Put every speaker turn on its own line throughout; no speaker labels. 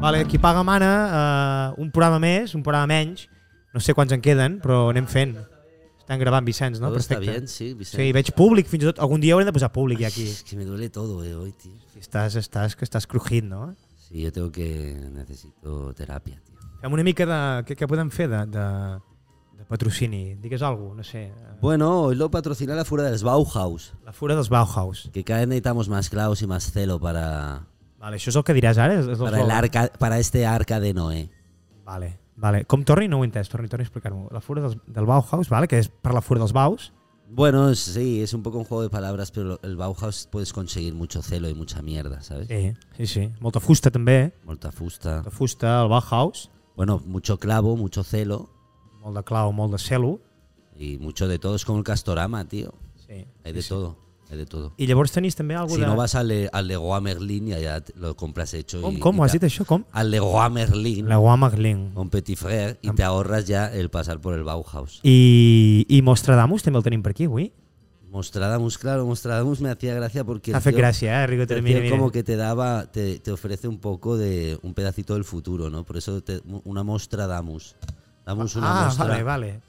Vale, qui paga mana, eh, un programa més, un programa menys, no sé quants en queden, però anem fent. Estan gravant, Vicenç, no?
Todo está
Perfecte.
bien, sí, Vicente.
Sí, veig públic, fins i tot. Algun dia haurem de posar públic ja aquí.
Es que me duele todo eh, hoy, tío.
Estàs, estàs, que estàs crujint, no?
Sí, yo tengo que... Necesito terapia, tío.
Fem una mica de... Què, què podem fer de, de, de patrocini? Digues alguna cosa, no sé. eh,
Bueno, hoy lo patrocina la Fura del Bauhaus.
La fura dels Bauhaus.
Que cada vez necesitamos más claus y más celo para,
Vale, això és el que diràs ara? És, és el
para, el arca, para este arca de Noé.
Vale, vale. Com torni? No ho he entès. Torni, torni a explicar-m'ho. La fura dels, del Bauhaus, vale, que és per la fura dels baus.
Bueno, sí, es un poco un juego de palabras, pero el Bauhaus puedes conseguir mucho celo y mucha mierda, ¿sabes?
Sí, sí, sí. Molta fusta, també.
Molta fusta.
Molta fusta, el Bauhaus.
Bueno, mucho clavo, mucho celo
Molt de clau, molt de celo.
y mucho de todo. Es como el castorama, tío.
Sí.
Hay de todo, hay de todo.
I llavors tenis també alguna
Si
de...
no vas al, Le- al Leroy Merlin y allá te- lo compras hecho.
Com,
y-
com?
y
Ho has
te-
dit això? Com?
Al Leroy Merlin,
La Guamagling.
un petit frère, y te ahorras ya el pasar por el Bauhaus.
I, I Mostradamus també el tenim per aquí avui.
Mostradamus, claro, Mostradamus me hacía gracia porque... el
T'ha fet
tío-
gràcia, eh, Rico?
el
Mira,
tío
mira.
como que te daba, te, te ofrece un poco de un pedacito del futuro, ¿no? Por eso te- una mostra damos. Damos una
Ah,
mostra.
vale, vale.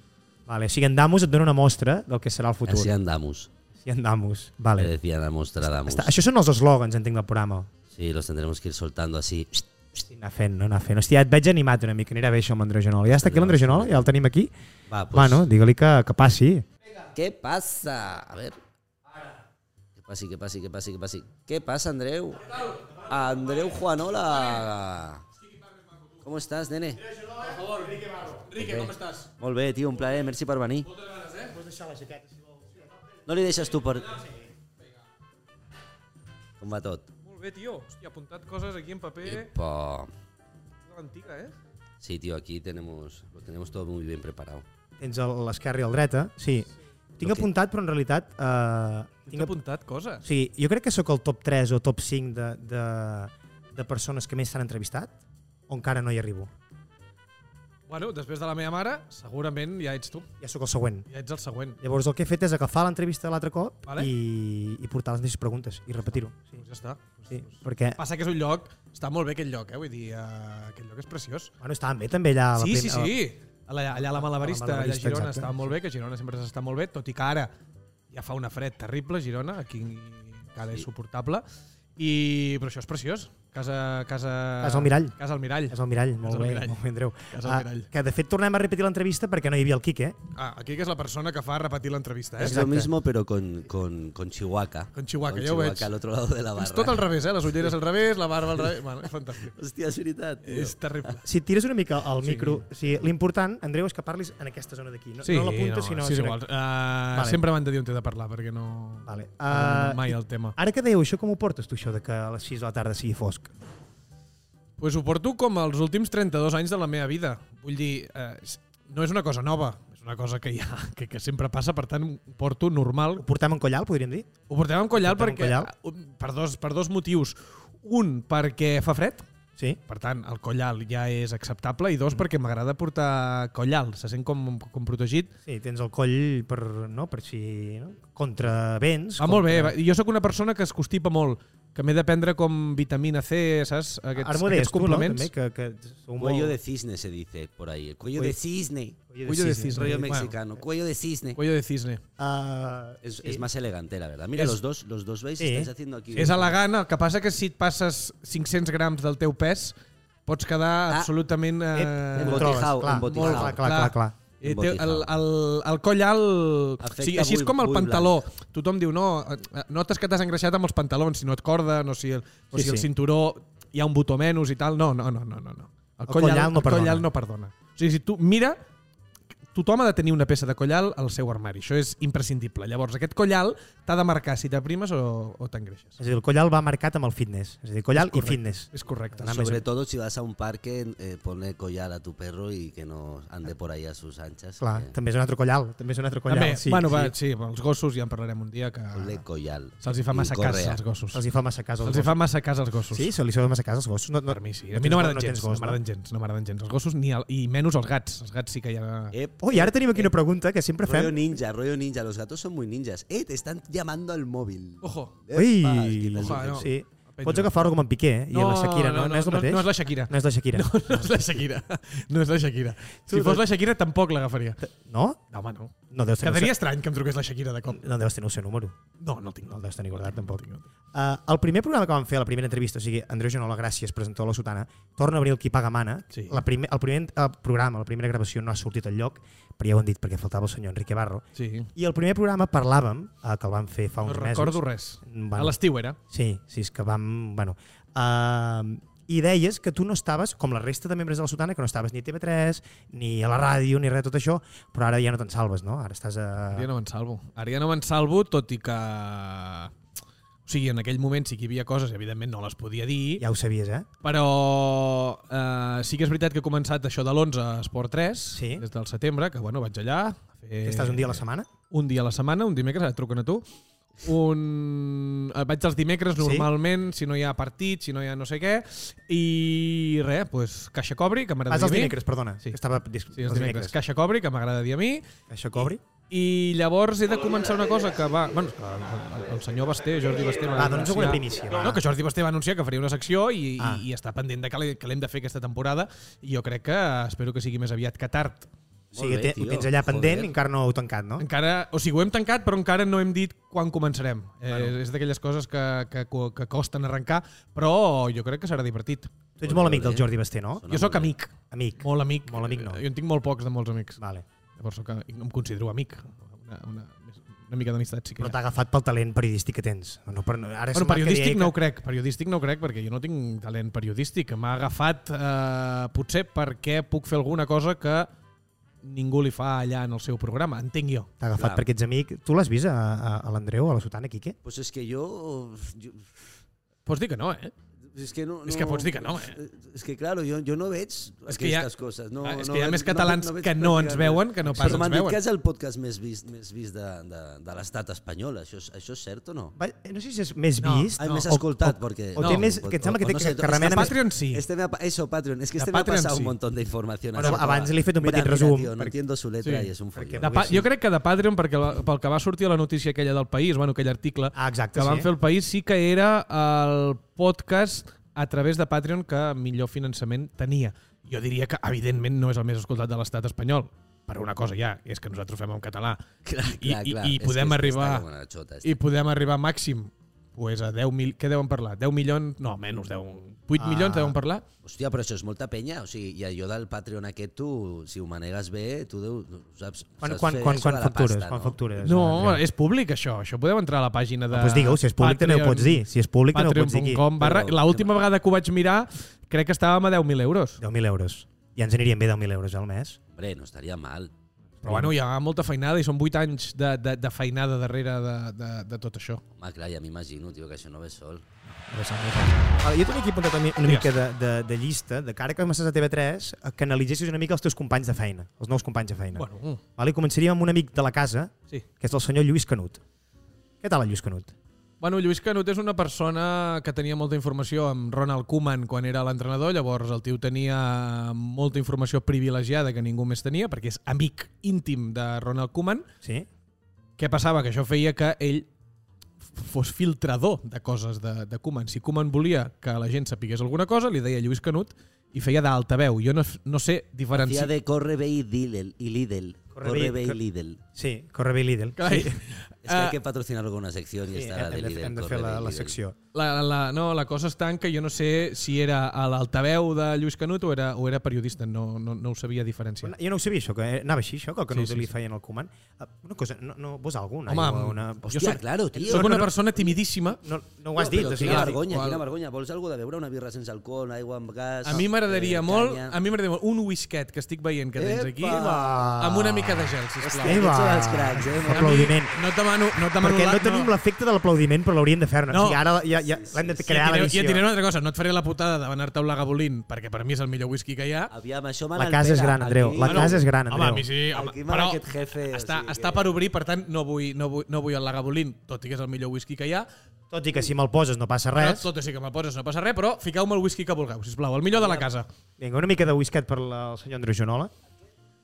Vale, o sigui, en Damus et dona una mostra del que serà el futur.
Así
Si en,
andamos.
Damus.
Le
Vale.
decían la mostra damos.
Està, això són els eslògans, entenc, del programa.
Sí, los tendremos que ir soltando así.
Sí, anar fent, no anar fent. Hòstia, et veig animat una mica, anirà bé això amb l'Androgenol. Ja està aquí l'Androgenol, ja el tenim aquí.
Va, pues.
Bueno, digue-li que, que passi.
¿Qué pasa? A ver. ¿Qué pasa? ¿Qué pasa? ¿Qué pasa? ¿Qué pasa? ¿Qué pasa, Andreu? Andreu Juanola. ¿Cómo estás, nene?
Enrique, com estàs?
Molt bé, tio, un plaer, merci per venir.
eh?
No li deixes tu per...
Ah,
Com va tot?
Molt bé, tio. Hòstia, apuntat coses aquí en paper
Epa.
de l'antiga, eh?
Sí, tío, aquí tenemos, lo tenemos todo muy bien preparado.
Tens el- l'esquerra i el dreta, sí. Tinc apuntat, però en realitat... Eh,
Tinc
tinc ap
apuntat coses.
o sigui, jo crec que sóc el top 3 o top 5 de, de, de persones que més s'han entrevistat, o encara no hi arribo.
Bueno, després de la meva mare, segurament ja ets tu.
Ja sóc el següent.
Ja ets el següent.
Llavors el que he fet és agafar l'entrevista de l'altre cop
Vale.
i, i portar les mateixes preguntes i repetir-ho. Sí,
Doncs ja està.
sí, perquè
Passa que és un lloc... Està molt bé aquest lloc, eh? Vull dir, eh, aquest lloc és preciós.
bueno, estaven bé també allà. a La
Sí,
prim-
sí,
a la-
sí. Allà, allà a la Malabarista,
A la
allà a
Malabarista,
Girona,
exacte.
estava molt bé, que a Girona sempre s'està molt bé, tot i que ara ja fa una fred terrible, a Girona, aquí encara és suportable. I, però això és preciós. Casa, casa,
Casa al Mirall.
Casa al Mirall.
És el mirall, molt
el
bé,
mirall.
molt bé, Andreu.
És el
Ah,
mirall.
que de fet tornem a repetir l'entrevista perquè no hi havia el Quique, eh?
Ah, aquí que és la persona que fa repetir l'entrevista, eh?
Es lo mismo, pero con, con, con Chihuahua.
Con Chihuahua, ya lo he hecho.
al otro lado de la
És
barra.
tot al revés, eh? Les ulleres al revés, la barba al revés... Bueno, és fantàstic.
Hostia, es verdad, tío.
És terrible.
Si et tires una mica al micro, o sigui, l'important, Andreu, és que parlis en aquesta zona d'aquí. No, no a la punta, sinó...
Sí, és
sinó-
igual. Uh, vale. Sempre m'han de dir on t'he de parlar, perquè no...
Vale.
Uh,
Uh,
mai el tema.
ara que dèieu això, com ho portes tu, això de que a les 6 de la tarda sigui fosc?
Pues ho porto com els últims 32 anys de la meva vida. Vull dir, eh, s- no és una cosa nova, és una cosa que, ja, que, que sempre passa, per tant, ho porto normal.
Ho portem en collal, podríem dir?
Ho portem amb collal,
Ho portem amb
perquè, eh,
collal.
un- Per, dos, per dos motius. Un, perquè fa fred,
Sí.
per tant, el collal ja és acceptable, i
Mm.
dos, perquè m'agrada portar collal, se sent com, com protegit.
Sí, tens el coll per, no, per si... No? Contra vents.
Va Ah, molt bé, va. jo sóc una persona que es constipa molt, que m'he de prendre com vitamina C, saps? Aquests,
Aquests, Armodes,
aquests
tu, no?
complements.
També, que, que sou molt...
Cuello de cisne se dice por ahí. El cuello
Cuello-
de cisne.
Cuello de cisne.
Rollo
Bueno.
mexicano. Cuello de cisne.
Cuello de cisne.
Ah,
Es,
sí.
es más elegante, la verdad. Mira,
Es-
los dos, los dos veis,
Sí.
estáis haciendo aquí.
És elegant, el que passa que si et passes 500 grams del teu pes, pots quedar
Ah.
absolutament... Eh,
Ep,
un
controles,
botijau,
clar,
un botijau.
molt Clar, clar, clar, clar.
Eh,
Un
té, el,
botijau.
el, el coll alt...
Afecta
O sigui, així és
bull-
com el
bull
pantaló. Tothom diu, no, eh, notes que t'has engreixat amb els pantalons, si no et corden, o si el, o
Sí,
si el
sí.
cinturó hi ha un botó menys i tal. No, no, no, no. no. no. El, coll, alt, no el coll alt no perdona. O sigui, si tu mira, tothom ha de tenir una peça de coll alt al seu armari. Això és imprescindible. Llavors, aquest coll alt t'ha de marcar si t'aprimes o, o t'engreixes.
És a dir, el collal va marcat amb el fitness. És a dir, collal i fitness.
És correcte.
Anant
Sobre
més-
todo si vas a un parque, eh, ponle collar a tu perro y que no ande por ahí a sus anchas. eh,
Clar,
que-
també és un altre collal. També és un altre collal.
També,
sí,
bueno, va,
sí.
sí, amb els gossos ja en parlarem un dia que
Ponle collar.
se'ls hi fa
y
massa cas
correa.
als gossos.
Doncs Els hi fa massa cas als
Se'ls hi fa massa cas als gossos.
Sí, se li fa massa cas als gossos. No, no,
Per mi sí. A mi no m'agraden gens,
tens
no
gos,
m'agraden gens, no m'agraden gens. Els gossos ni el, i menys els gats. Els gats sí que hi ha...
Ep,
Oh, i ara tenim aquí una pregunta que sempre
Eh, rollo
fem.
ninja, rollo ninja. Los gatos son muy ninjas. Eh, te están llamando al móvil.
Ojo.
Epa,
Ui,
es que les-
Ojo, no.
sí. Pots agafar-ho com en Piqué, eh? I la Shakira, no? No, és el mateix?
No, no és la Shakira.
No és la Shakira.
No, no és la Shakira. No és la Shakira. Si
Tu-
fos la Shakira, tampoc l'agafaria.
No?
No, home, no.
No deus tenir,
Quedaria estrany que em truqués la Shakira de cop.
no deus tenir el seu número.
No, no el tinc.
No el
No.
deus tenir guardat, tampoc. Uh, el primer programa que vam fer, la primera entrevista, o sigui, Andreu Genola, gràcies, presentador de la Sotana, torna a obrir el qui paga mana.
Sí.
La primer, el primer eh, programa, la primera gravació no ha sortit al lloc, però ja ho han dit perquè faltava el senyor Enrique Barro.
Sí.
I el primer programa parlàvem, eh, que el vam fer fa
No
uns mesos.
recordo res.
Bueno.
A l'estiu era.
Sí, sí, és que vam... Bueno, uh, I deies que tu no estaves, com la resta de membres de la Sotana, que no estaves ni a TV3, ni a la ràdio, ni res de tot això, però ara ja no te'n salves, no? Ara estàs a...
Ara ja no me'n salvo. Ara ja no me'n salvo, tot i que... O sigui, en aquell moment sí que hi havia coses, evidentment no les podia dir, ja.
Ja ho sabies, eh?
però eh, sí que és veritat que he començat això de l'11 a Esport 3,
Sí.
des del setembre, que bueno, vaig allà... a Fer...
Que estàs un dia a
eh,
la setmana?
un dia a la setmana, un dimecres, ara et truquen a tu. Un... eh, Vaig els dimecres
Sí?
normalment, si no hi ha partit, si no hi ha no sé què, i res, pues, caixa cobri, que
Vas
m'agradaria a
els
mi.
dimecres, perdona.
Sí.
Sí. Estava dis...
Sí, els dimecres. Caixa cobri, que m'agradaria a mi.
Això cobri?
I llavors he de començar una cosa que va... Bueno, és que el, el senyor Basté, Jordi Basté...
Va, dóna'ns alguna primícia, va.
No, que Jordi Basté va anunciar que faria una secció i,
Ah.
ah. i, i està pendent de que l'he- que l'hem de fer aquesta temporada. I jo crec que espero que sigui més aviat que tard.
O sigui,
Molt bé,
bé, ho
tio.
tens allà pendent
Joder.
i encara no heu tancat, no?
Encara, o sigui, ho hem tancat, però encara no hem dit quan començarem. Eh, bueno. És d'aquelles coses que, que, co- que costen arrencar, però jo crec que serà divertit.
Tu ets molt amic del Jordi Basté, no?
Sona
Jo sóc
molt bé.
amic,
Amic.
eh? molt amic.
Molt amic no.
Eh, Jo en tinc molt pocs de molts amics.
Vale.
Llavors sóc, amic, no em considero amic. Una, una, una mica d'amistat sí que
Però
hi ha.
t'ha agafat pel talent periodístic que tens. No, no, per, no, ara
Bueno,
sembla que
periodístic
deia
no ho
que-
crec, periodístic no ho crec, perquè jo no tinc talent periodístic. M'ha agafat eh, potser perquè puc fer alguna cosa que ningú li fa allà en el seu programa, entenc jo.
T'ha agafat
Clar.
perquè ets amic. Tu l'has vist a, a, a l'Andreu, a la Sotana, Quique?
Pues es que yo, yo-
Pots dir que no, eh?
es que no,
És que pots dir que no, eh?
Es que claro, jo, jo no veig
És
és
que hi ha-
aquestes coses. No,
Ah, és
no
que hi ha
veig-
més catalans
veig
que no ens
pràcticament-
veuen que no pas
Però
ens
m'han dit
veuen.
que és el podcast més vist, més vist de, de, de l'estat espanyol. Això, és- això és cert o no?
Va, no sé si és més
No.
vist.
Ai,
No,
més
o-
escoltat,
o-
perquè...
o té més- que em sembla que té- que- que remena
De Patreon sí.
Este me ha, pa- eso, Patreon. Es que
De
este me ha
Patreon
pasado
sí.
un montón de información.
Bueno,
así que
abans
va.
li he fet un
Mira,
petit
mira,
resum,
Tío, no
perquè-
entiendo su letra
Sí,
y es un
perquè
follón.
De pa, jo crec que de Patreon, perquè la, pel que va sortir a la notícia aquella del País, bueno, aquell article
Ah, exacte,
que van
sí.
fer el País, sí que era el podcast a través de Patreon que millor finançament tenia. Jo diria que, evidentment, no és el més escoltat de l'estat espanyol. Per una cosa ja, és que nosaltres ho fem en català.
Clar,
I,
clar,
i,
clar.
i
És
podem
que
arribar...
Està com una xota,
I podem arribar màxim pues, a 10 mil... Què deuen parlar? 10 milions? No, menys 10... 8
Ah.
milions deuen parlar?
Hòstia, però això és molta penya. O sigui, i allò del Patreon aquest, tu, si ho manegues bé, tu deu, saps,
Quan,
saps
quan,
fer
quan,
això
quan,
de la
factures,
pasta,
quan
no?
factures? eh?
No, és públic això. Això podeu entrar a la pàgina de...
Doncs pues digue-ho, si és públic també ho pots dir. Si és públic també ho pots dir aquí.
Patreon.com barra...
Però-
L'última vegada que ho vaig mirar crec que estàvem a 10.000 euros.
10.000 euros. Ja ens anirien bé 10.000 euros al mes.
Hombre, no estaria mal.
Però bueno, hi ha molta feinada i són 8 anys de, de, de feinada darrere de, de, de tot això.
Home, clar, ja m'imagino, tio, que això no ve sol.
Ah, jo tenia aquí apuntat una mi- una
Digues.
mica de, de, de llista de cara que comences a TV3 eh, que analitzessis una mica els teus companys de feina, els nous companys de feina.
Bueno, mm,
Vale? I començaríem amb un amic de la casa,
sí.
que és el senyor Lluís Canut. Què tal, el Lluís Canut?
Bueno, Lluís Canut és una persona que tenia molta informació amb Ronald Koeman quan era l'entrenador, llavors el tio tenia molta informació privilegiada que ningú més tenia, perquè és amic íntim de Ronald Koeman,
Sí?
Què passava? Que això feia que ell fos filtrador de coses de, de Koeman. Si Koeman volia que la gent sapigués alguna cosa, li deia Lluís Canut i feia d'altaveu. Jo no, no sé
Fia
diferenciar...
de corre bé i Lidl. I Lidl.
Corre
Corre
bé-
bé i
cor-
Lidl.
Sí, corre bé Lidl.
Carai,
És que hay que patrocinar alguna secció
Ah.
i
Sí,
estarà
hem,
de
de,
Lidl.
hem de
corre
fer la,
bé i
la
Lidl.
secció.
la, la, no, la cosa està en que jo no sé si era a l'altaveu de Lluís Canut o era, o era periodista. No, no, no ho sabia diferenciar.
Jo no ho sabia, això, que eh, anava així, això, que el Canut
Sí, sí,
li
sí.
feien el Koeman. Ah, Una cosa, no, no vols alguna?
Home,
una...
jo
Hòstia,
soc-
claro, tio.
Soc una persona timidíssima.
No, no ho has
No,
dit,
però
o sigui,
quina
has dit-
vergonya,
qual-
quina vergonya. Vols algú de beure una birra sense alcohol, aigua amb gas...
A mi m'agradaria
eh,
molt,
canya?
a mi m'agradaria molt un whisket que estic veient que tens aquí
Epa!
amb una mica de gel,
Hòstia,
sisplau.
aquests són els cracs, eh?
Un Ah, aplaudiment.
No et demano, no et demano
Perquè
la-
no tenim l'efecte de l'aplaudiment, però l'hauríem de fer-ne.
No.
O sigui, ara ja, ja l'hem de
I et
crear
diré, i
l'edició.
et diré una altra cosa, no et faré la putada de demanar-te un lagabolín, perquè per mi és el millor whisky que hi ha.
Aviam, això me
La casa és
l'altera,
gran, Andreu,
aquí.
la
Bueno,
casa és gran,
Home, a mi
Andreu.
sí, home,
Aquí mana
però
aquest jefe, o
està,
sigui
està
que-
per obrir, per tant, no vull, no vull, no vull el lagabolín, tot i que és el millor whisky que hi ha.
Tot i que si me'l poses no passa
Però,
res.
tot i que me'l poses no passa res, però fiqueu-me el whisky que vulgueu, sisplau, el millor de la casa.
Vinga, una mica de whisket per la- el senyor Andreu Jonola.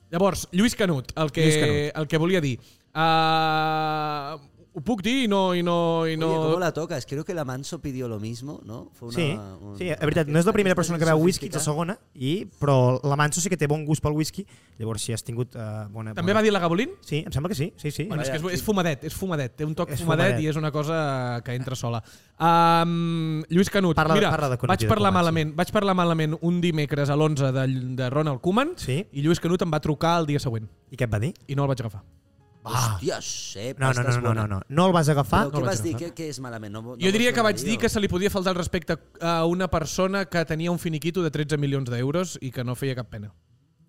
Llavors, Lluís Canut, el que,
Lluís Canut.
El que volia dir. Uh, Ho puc dir i no... I no, i no...
Oye, ¿cómo la tocas? Creo que la Manso pidió lo mismo, ¿no? Fue una,
Sí,
un-
sí, és veritat, no és la primera persona que veu whisky, és la segona, i, però la Manso sí que té bon gust pel whisky, llavors si has tingut eh, bona...
També
bona...
va dir la Gabolín?
Sí, em sembla que sí, sí, sí.
Bueno, és
Vaja,
que és,
sí.
és fumadet, és fumadet. Té un toc
És
fumadet, fumadet,
fumadet.
i és una cosa que entra sola. Um, Lluís Canut,
Parla-
mira,
parla de Canut i
vaig
de
parlar
Coman, sí.
malament vaig parlar malament un dimecres a l'11 de, de Ronald Koeman
Sí.
i Lluís Canut em va trucar el dia següent
I què et va dir?
i no el vaig agafar.
Ah,
Dios, eh,
no, no, no, no, no, no, no el vas agafar, no
Però què
el
vas dir?
agafar.
Què, què és malament? No, no
Jo diria
vols
que vaig
donar-li,
dir
o?
que se li podia faltar el respecte a una persona que tenia un finiquito de 13 milions d'euros i que no feia cap pena.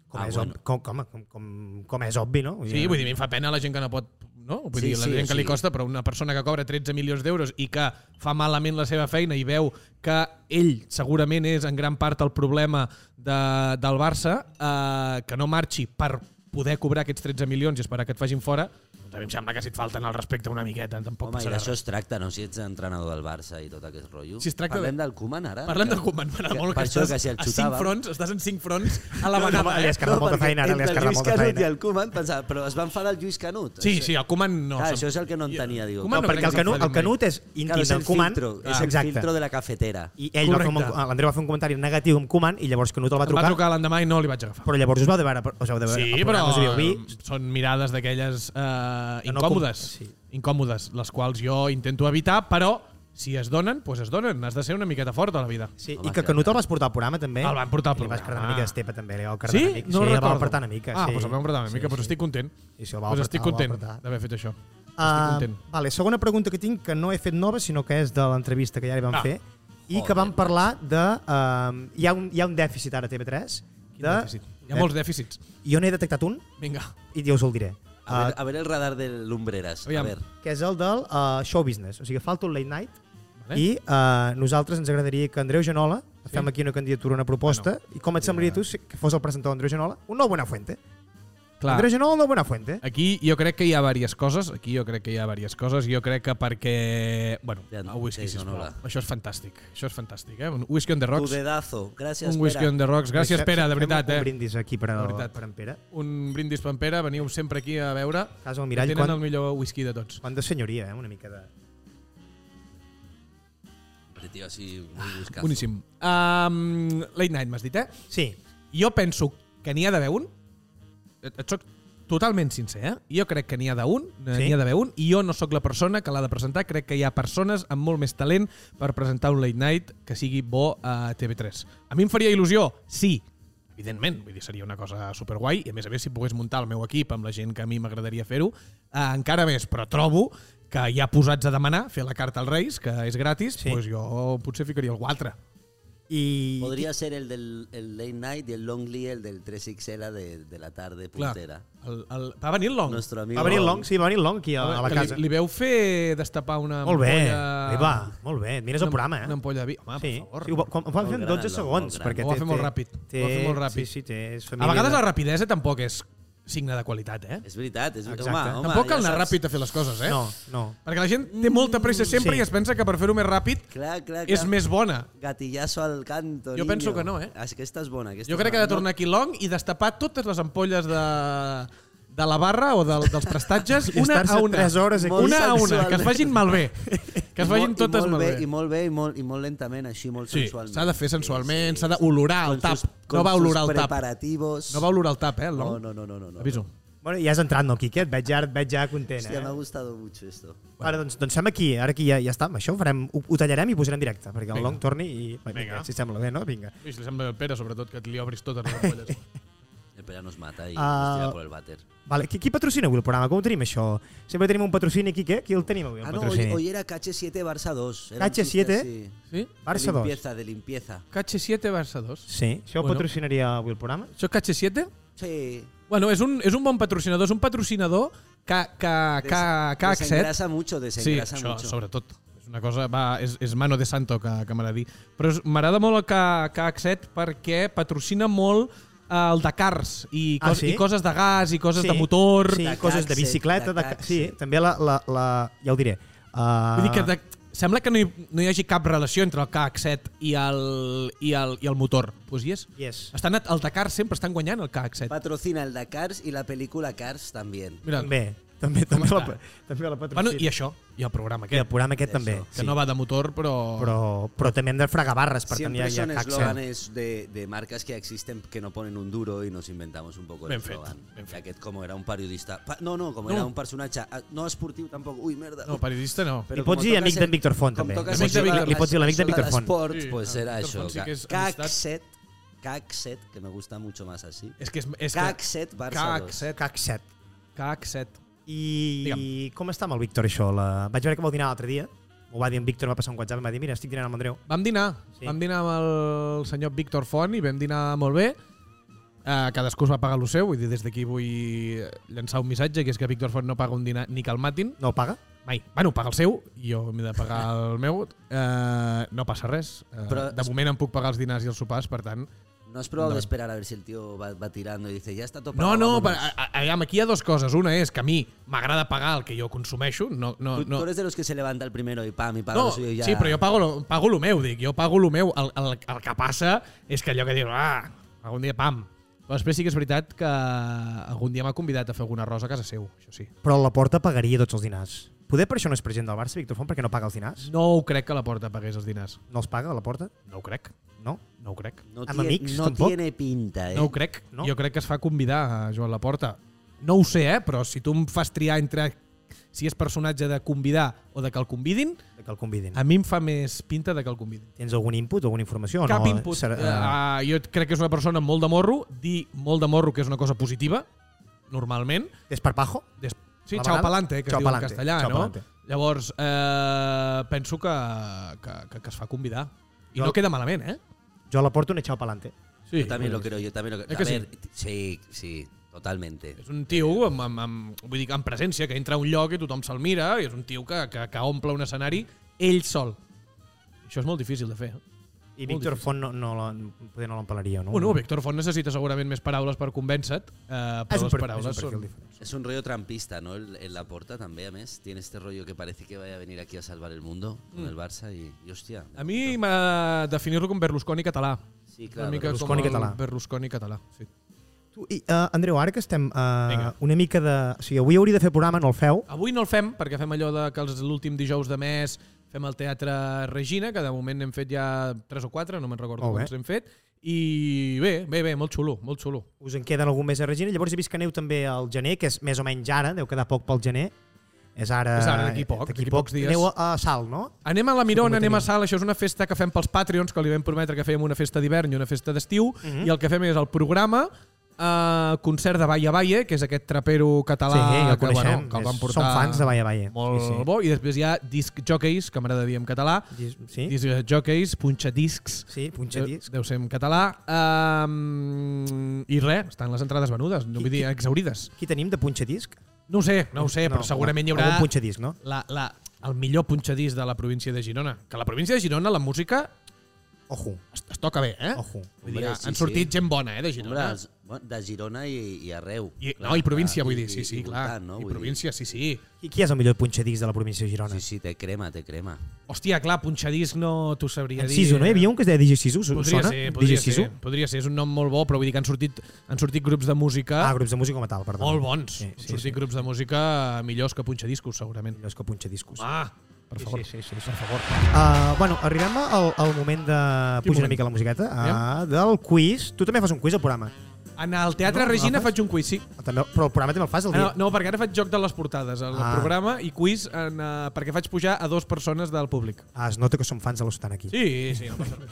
Com,
Ah,
és
bueno.
obvi, com, com, com, com, com és obvi, no?
Sí, vull dir, a mi em fa pena la gent que no pot... No? Vull
Sí,
dir, la
sí,
gent que li
sí.
costa, però una persona que cobra 13 milions d'euros i que fa malament la seva feina i veu que ell segurament és en gran part el problema de, del Barça, eh, que no marxi per poder cobrar aquests 13 milions i esperar que et facin fora, doncs a mi em sembla que si et falten el respecte una miqueta, tampoc
Home, i
passarà
d'això
res.
es tracta, no? Si ets entrenador del Barça i tot aquest rotllo.
Si es tracta
Parlem del Koeman, ara?
Parlem de Koeman, m'agrada molt
per
que
això
estàs
que si el
a cinc
xutàvem-
fronts, estás en cinc fronts a la
No, no, li
vegada.
has
eh?
cardat molta
perquè
feina, ara li
entre
has cardat molta
El Lluís Canut i
feina.
el Koeman pensava, però es va enfadar el Lluís Canut.
Sí, sí, el Koeman no.
Clar,
se'n-
això és el que no entenia, digo.
No,
Koeman
Ah. perquè
crec
el
que
Canut, el
s'enfadin mai.
Canut és
Claro,
íntim
és el
del Koeman.
filtro, és el
Exacte.
filtro de la cafetera.
I ell va fer un,
Correcte.
l'Andreu va fer un comentari negatiu amb Koeman i llavors Canut el va
Em va
trucar,
trucar l'endemà i no li vaig agafar.
però llavors us vau de veure, us vau de veure
Sí,
al
però
programa, us havíeu vist.
són mirades d'aquelles eh,
Que no
incòmodes,
com-
sí.
sí.
incòmodes, les quals jo intento evitar, però si es donen, doncs es donen. Has de ser una miqueta fort a la vida.
Sí,
Home,
i que
clar,
Canut
clar.
el vas portar al programa també.
El van portar al
I Li vas
programa. Ah.
cardar una mica d'estepa també, eh, li vau cardar
Sí?
una mica. sí,
No
el
recordo.
vau apretar una mica.
Ah,
sí.
doncs el vam apretar una mica, doncs estic content.
Sí, sí, el va
Doncs
apretar, el
estic
va
content
apretar.
d'haver fet això.
Ah,
estic content.
vale, segona pregunta que tinc, que no he fet nova, sinó que és de l'entrevista que ja li vam
Ah.
fer, i que vam parlar de... Um, hi, ha un, hi ha un dèficit ara a TV3,
De...
de, eh,
Hi ha molts dèficits.
jo n'he detectat un,
Vinga.
i ja us el diré, uh,
A,
Ah.
ver, a ver el radar de Lumbreras.
Aviam.
A ver.
que és el del uh, show business. O sigui, falta un late night,
Vale.
i uh, nosaltres ens agradaria que Andreu Genola, sí. fem aquí una candidatura, una proposta, i com et semblaria tu si- que fos el presentador Andreu Genola? Un nou Buenafuente.
Clar. Eh,
Andreu Genola, un nou Buenafuente.
Aquí jo crec que hi ha diverses coses, aquí jo crec que hi ha diverses coses, jo crec que perquè... Bueno,
Ja,
el whisky,
sí, no,
sisplau.
no, la-
Això és fantàstic, això és fantàstic, eh? Un whisky on the
Tu
rocks,
dedazo. Gracias,
un whisky
Pera.
on the rocks. Gràcies,
Fem-
Pere, de
fem
veritat,
Un
eh?
brindis aquí per,
De
al,
veritat.
per en Pere.
un brindis per en Pere, veniu sempre aquí a veure.
Casa al mirall,
tenen
quan-
el millor whisky de tots.
Quant de senyoria, eh? Una mica de...
Hombre, tío, así muy buscado.
Boníssim. Um, late Night, m'has dit, eh?
Sí,
Jo penso que n'hi ha d'haver un. Et, et soc totalment sincer, eh? Jo crec que n'hi ha d'un, eh,
Sí?
n'hi ha d'haver un, i jo no sóc la persona que l'ha de presentar. Crec que hi ha persones amb molt més talent per presentar un Late Night que sigui bo a TV3. A mi em faria il·lusió, sí, evidentment, vull dir, seria una cosa superguai, i a més a més, si pogués muntar el meu equip amb la gent que a mi m'agradaria fer-ho, eh, encara més, però trobo que ja posats a demanar, fer la carta als Reis, que és gratis,
Sí.
doncs jo potser ficaria algú altre.
i...
Podría ser el del el late night y el longly, el del 3XL de, de la tarde
Clar,
puntera.
el, el, va venir el Long.
Nuestro amigo.
Va venir el Long, sí, va venir el Long aquí a, a la
Que
casa.
Li, li veu fer destapar una
Molt bé,
ampolla...
Ui, va, molt bé. Et mires el
una-
programa,
Una
eh?
ampolla de vi. Home,
Sí,
per favor.
sí ho, va- com, ho van
Molt
fer en
gran,
12
el Long,
segons.
molt gran.
perquè
Ho va fer
té-
molt
té-
ràpid, ho va
té-
fer molt
Sí,
ràpid.
sí, té, és
a
família.
vegades
de-
la rapidesa tampoc és signe de qualitat, eh?
És veritat, és veritat.
Exacte.
Home, home,
tampoc cal
ja
anar
saps.
ràpid a fer les coses, eh?
No, no.
Perquè la gent té molta pressa sempre
sí.
i es pensa que per fer-ho més ràpid
Clar, clar, clar.
és més bona.
Gatillazo al canto,
Jo
niño. Ah,
penso que no, eh.
Aquesta és bona. Aquesta
Jo
és
crec que
bona.
ha de tornar aquí long i destapar totes les ampolles de, de la barra o del, dels prestatges
I
una a
estar-se
una.
tres hores aquí.
Una a una,
Molt
que es facin malbé. Que es
I
facin
molt- i
totes
molt
malbé.
I molt bé i molt, i molt lentament, així, molt
Sí,
sensualment.
s'ha de fer sensualment, s'ha d'olorar el
Con
tap.
sus-
No
con
va
sus
olorar el tap.
preparativos.
No va olorar el tap, eh, el long.
No, no, no, no, no, no.
Aviso.
Bueno, ja has entrat, no, Quique? Et veig ja, et veig ja content,
Hòstia, m'ha
eh?
gustado mucho esto.
Ara, doncs, doncs fem aquí, ara aquí ja, ja està, amb això ho, farem, ho, ho tallarem i ho posarem directe, perquè el
Vinga.
Long torni i... Vinga.
Vinga.
Vinga. Si sembla bé, no? Vinga.
Lluís, li sembla bé al Pere, sobretot, que li obris totes les ampolles.
El Pere nos mata i uh...
Ah.
nos tira por el vàter.
Vale, qui, qui patrocina avui el programa? Com ho tenim, això? Sempre tenim un patrocini, Quique? Qui el tenim avui, el
Ah, no, hoy,
patrocini?
hoy era KH7 Barça 2. Era un
KH7?
chiste así.
sí?
Barça
de
2.
limpieza, de limpieza.
Catxe 7, Barça 2.
Sí, això
Bueno.
bueno. patrocinaria avui el programa?
Això Catxe 7?
Sí.
Bueno, és un, és un bon patrocinador, és un patrocinador que, que, que, que accepta.
Desengrasa mucho,
Sí,
desengrasa
això,
mucho.
sobretot. És una cosa, va, és, és mano de santo que, que m'agrada dir. Però és- m'agrada molt el que, que accepta perquè patrocina molt eh, el de cars i,
Ah,
cos,
sí?
i coses de gas i coses
sí,
de motor.
Sí,
De
coses de
càxet,
bicicleta.
de
De, ca-
càxet.
sí, també la, la, la... Ja ho diré. Uh,
Vull dir que de, sembla que no hi, no hi hagi cap relació entre el KX7 i el, i el, i el motor. Pues hi és.
Ah, Yes.
Estan, a- el Dakar sempre estan guanyant el KX7.
Patrocina el Dakar y la película Cars también.
Mira,
Bé, també, també, la, també la patrocina.
Bueno, i això, i el programa
I el
aquest,
programa aquest també.
que no va de motor, però...
però, però també hem de fregar barres per
Siempre
tenir
son
ja Axel.
eslóganes de, de marcas que existen que no ponen un duro y nos inventamos un poco el
Ben fet,
eslogan.
ben fet.
Ya que como era un periodista... pa- no, no, como
No.
era un personatge... ah, No esportiu tampoco. Uy, merda.
No, periodista no.
Li pots dir amic d'en Víctor Font, també.
Li pots dir-
li pots dir l'amic d'en Víctor Font.
L'esport,
Sí,
pues
ah,
era
Víctor
això.
Font sí que és
Caxet, Caxet, que me gusta mucho más así.
És que és... és que...
Caxet Barça 2.
CAC7.
Cac 7.
CAC7.
I
Digue'm.
com està amb el Víctor, això? La... Vaig veure que vol dinar l'altre dia. M'ho va dir en Víctor, em va passar un WhatsApp i em va dir, mira, estic dinant amb Andreu.
Vam dinar.
Sí.
Sí. Vam dinar amb el senyor Víctor Font i vam dinar molt bé. Uh, cadascú es va pagar el seu, vull dir, des d'aquí vull llançar un missatge, que és que Víctor Font no paga un dinar ni que el matin,
No el paga?
mai. Bueno, paga el seu, jo m'he de pagar el meu. Uh, no passa res. Uh,
Però-
de moment em puc pagar els dinars i els sopars, per tant...
¿No has probado
No.
de esperar a ver si el tío va, va tirando y dice, ya está topado?
No, ah, no,
vámonos"?
per, a, a, aviam, aquí hi ha dues coses. Una és que a mi m'agrada pagar el que jo consumeixo. No, no,
Tú, tú
no.
eres de los que se levanta el primero y pam, y paga
No,
lo suyo y ya.
sí, però jo pago, lo, pago lo meu, dic. Jo pago lo meu. El, el, el que passa és que allò que dius, ah, algun dia, pam. Però després sí que és veritat que algun dia m'ha convidat a fer alguna rosa a casa seu, això sí.
Però la porta pagaria tots els dinars. Poder per això no és president del Barça, Víctor Font, perquè no paga els dinars?
No ho crec que la porta pagués els dinars.
No els paga, la porta?
No ho crec,
No?
no ho crec.
No,
Amb
tiene,
amics,
no
tampoc?
tiene pinta, ¿eh?
No ho crec.
No?
No? Jo crec que es fa convidar a Joan Laporta. No ho sé, eh? però si tu em fas triar entre si és personatge de convidar o de que el convidin,
Que el convidin.
a mi em fa més pinta de que el convidin.
Tens algun input, alguna informació? o
Cap
no?
input.
Serà, eh,
Uh, jo crec que és una persona amb molt de morro, dir molt de morro que és una cosa positiva, normalment.
Desparpajo?
Des... Sí,
La
xau
vegada-
palante, eh, que
Chao
es diu en
pa'lante,
castellà,
chao
no?
pa'lante.
Llavors, eh, penso que, que, que, que es fa convidar. I
Jo-
no queda malament, eh?
Jo la porto un echao pa'lante.
Sí,
Yo también lo creo, yo también lo creo.
que
a
sí?
ver, sí, sí, totalmente.
És un tio amb, amb, amb, vull dir, que amb presència, que entra a un lloc i tothom se'l mira, i és un tio que, que, que omple un escenari ell sol. Això és molt difícil de fer. Eh?
I
Molt
Víctor
difícil.
Font no, no, la- poder no l'empalaria, no?
Bueno, Víctor Font necessita segurament més paraules per convèncer-te, eh,
Ah, és
però
un perfil,
les
és
paraules
un perfil
són...
diferent.
Es un rollo trampista, ¿no? El- En la porta también, ¿ves? Tiene este rollo que parece que vaya a venir aquí a salvar el mundo con el Barça y, y hostia.
Mm. A mi m'ha definir-lo com Berlusconi català.
Sí,
Una
claro.
mica
Berlusconi
com el
català.
Berlusconi català, sí.
Tu, i, uh, Andreu, ara que estem uh,
Vinga.
una mica de... O sigui, avui hauria de fer programa, no el feu.
Avui no el fem, perquè fem allò de que els- l'últim dijous de mes fem el Teatre Regina, que de moment n'hem fet ja 3 o 4, no me'n recordo
Molt bé.
quants hem fet, i bé, bé, bé, molt xulo, molt xulo.
Us en queden algun més a Regina. Llavors he vist que aneu també al gener, que és més o menys ara, deu quedar poc pel gener. És ara...
És ara, d'aquí poc, d'aquí pocs dies.
Aneu a, a Salt, no?
Anem a la Mirona,
Com ho
anem a
tenim?
Sal, això és una festa que fem pels Patreons, que li vam prometre que fèiem una festa d'hivern i una festa d'estiu,
Mhm.
i el que fem és el programa, eh, concert de Baia Baia, que és aquest trapero català
sí, ja el
que,
coneixem.
que el van portar...
Som fans de Baia Baia.
Molt sí, sí. bo, i després hi ha disc jockeys, que m'agrada dir en català,
Sí, sí.
disc jockeys, punxadiscs,
Sí, punxadisc.
Deu, deu ser en català. Um, I res, estan les entrades venudes, no vull dir exaurides.
Qui tenim de punxadisc?
No ho sé, no ho sé, no, però segurament hi haurà
Algun punxadisc, no?
la, la, el millor punxadís de la província de Girona. Que a la província de Girona la música
Ojo,
es, es toca bé, eh?
ojo.
Vull dir,
Hombre, sí,
han sortit
sí.
gent bona, eh, de
Hombre,
Girona.
es- bueno, de Girona y, y Arreu.
I,
clar,
no, i província,
clar,
vull
i-
dir, sí,
i-
sí,
i
clar.
voltant, no?
I
Vull dir,
província, sí, sí.
Qui, qui és el millor punxadisc de la província de Girona?
Sí, sí, te crema, te crema.
Hòstia, clar, punxadís no t'ho sabria
En
dir.
Sisu, no? Hi havia un que es deia DJ Sisu, us- us
Podria
sona?
ser,
DJ
podria
Sisu?
ser, podria ser, és un nom molt bo, però vull dir que han sortit, han sortit grups de música
Ah, grups de música com a tal, perdó.
Molt bons.
Sí,
Sí,
sí,
sí, Sortir grups de música millors que punxadiscos, segurament.
Millors que punxadiscos.
Ah, per favor.
sí,
sí, per favor.
Uh, bueno, arribem al, al moment de pujar una
moment?
mica la musiqueta uh, del quiz. Tu també fas un quiz al programa.
En el Teatre
No,
Regina
agafes?
faig un quiz, sí.
També, però el programa també el fas el
Ah, No,
dia.
no, perquè ara faig joc de les portades al
Ah.
programa i quiz en, uh, perquè faig pujar a dos persones del públic.
Ah, es nota que som fans de l'Otan aquí.
Sí, sí, no passa res.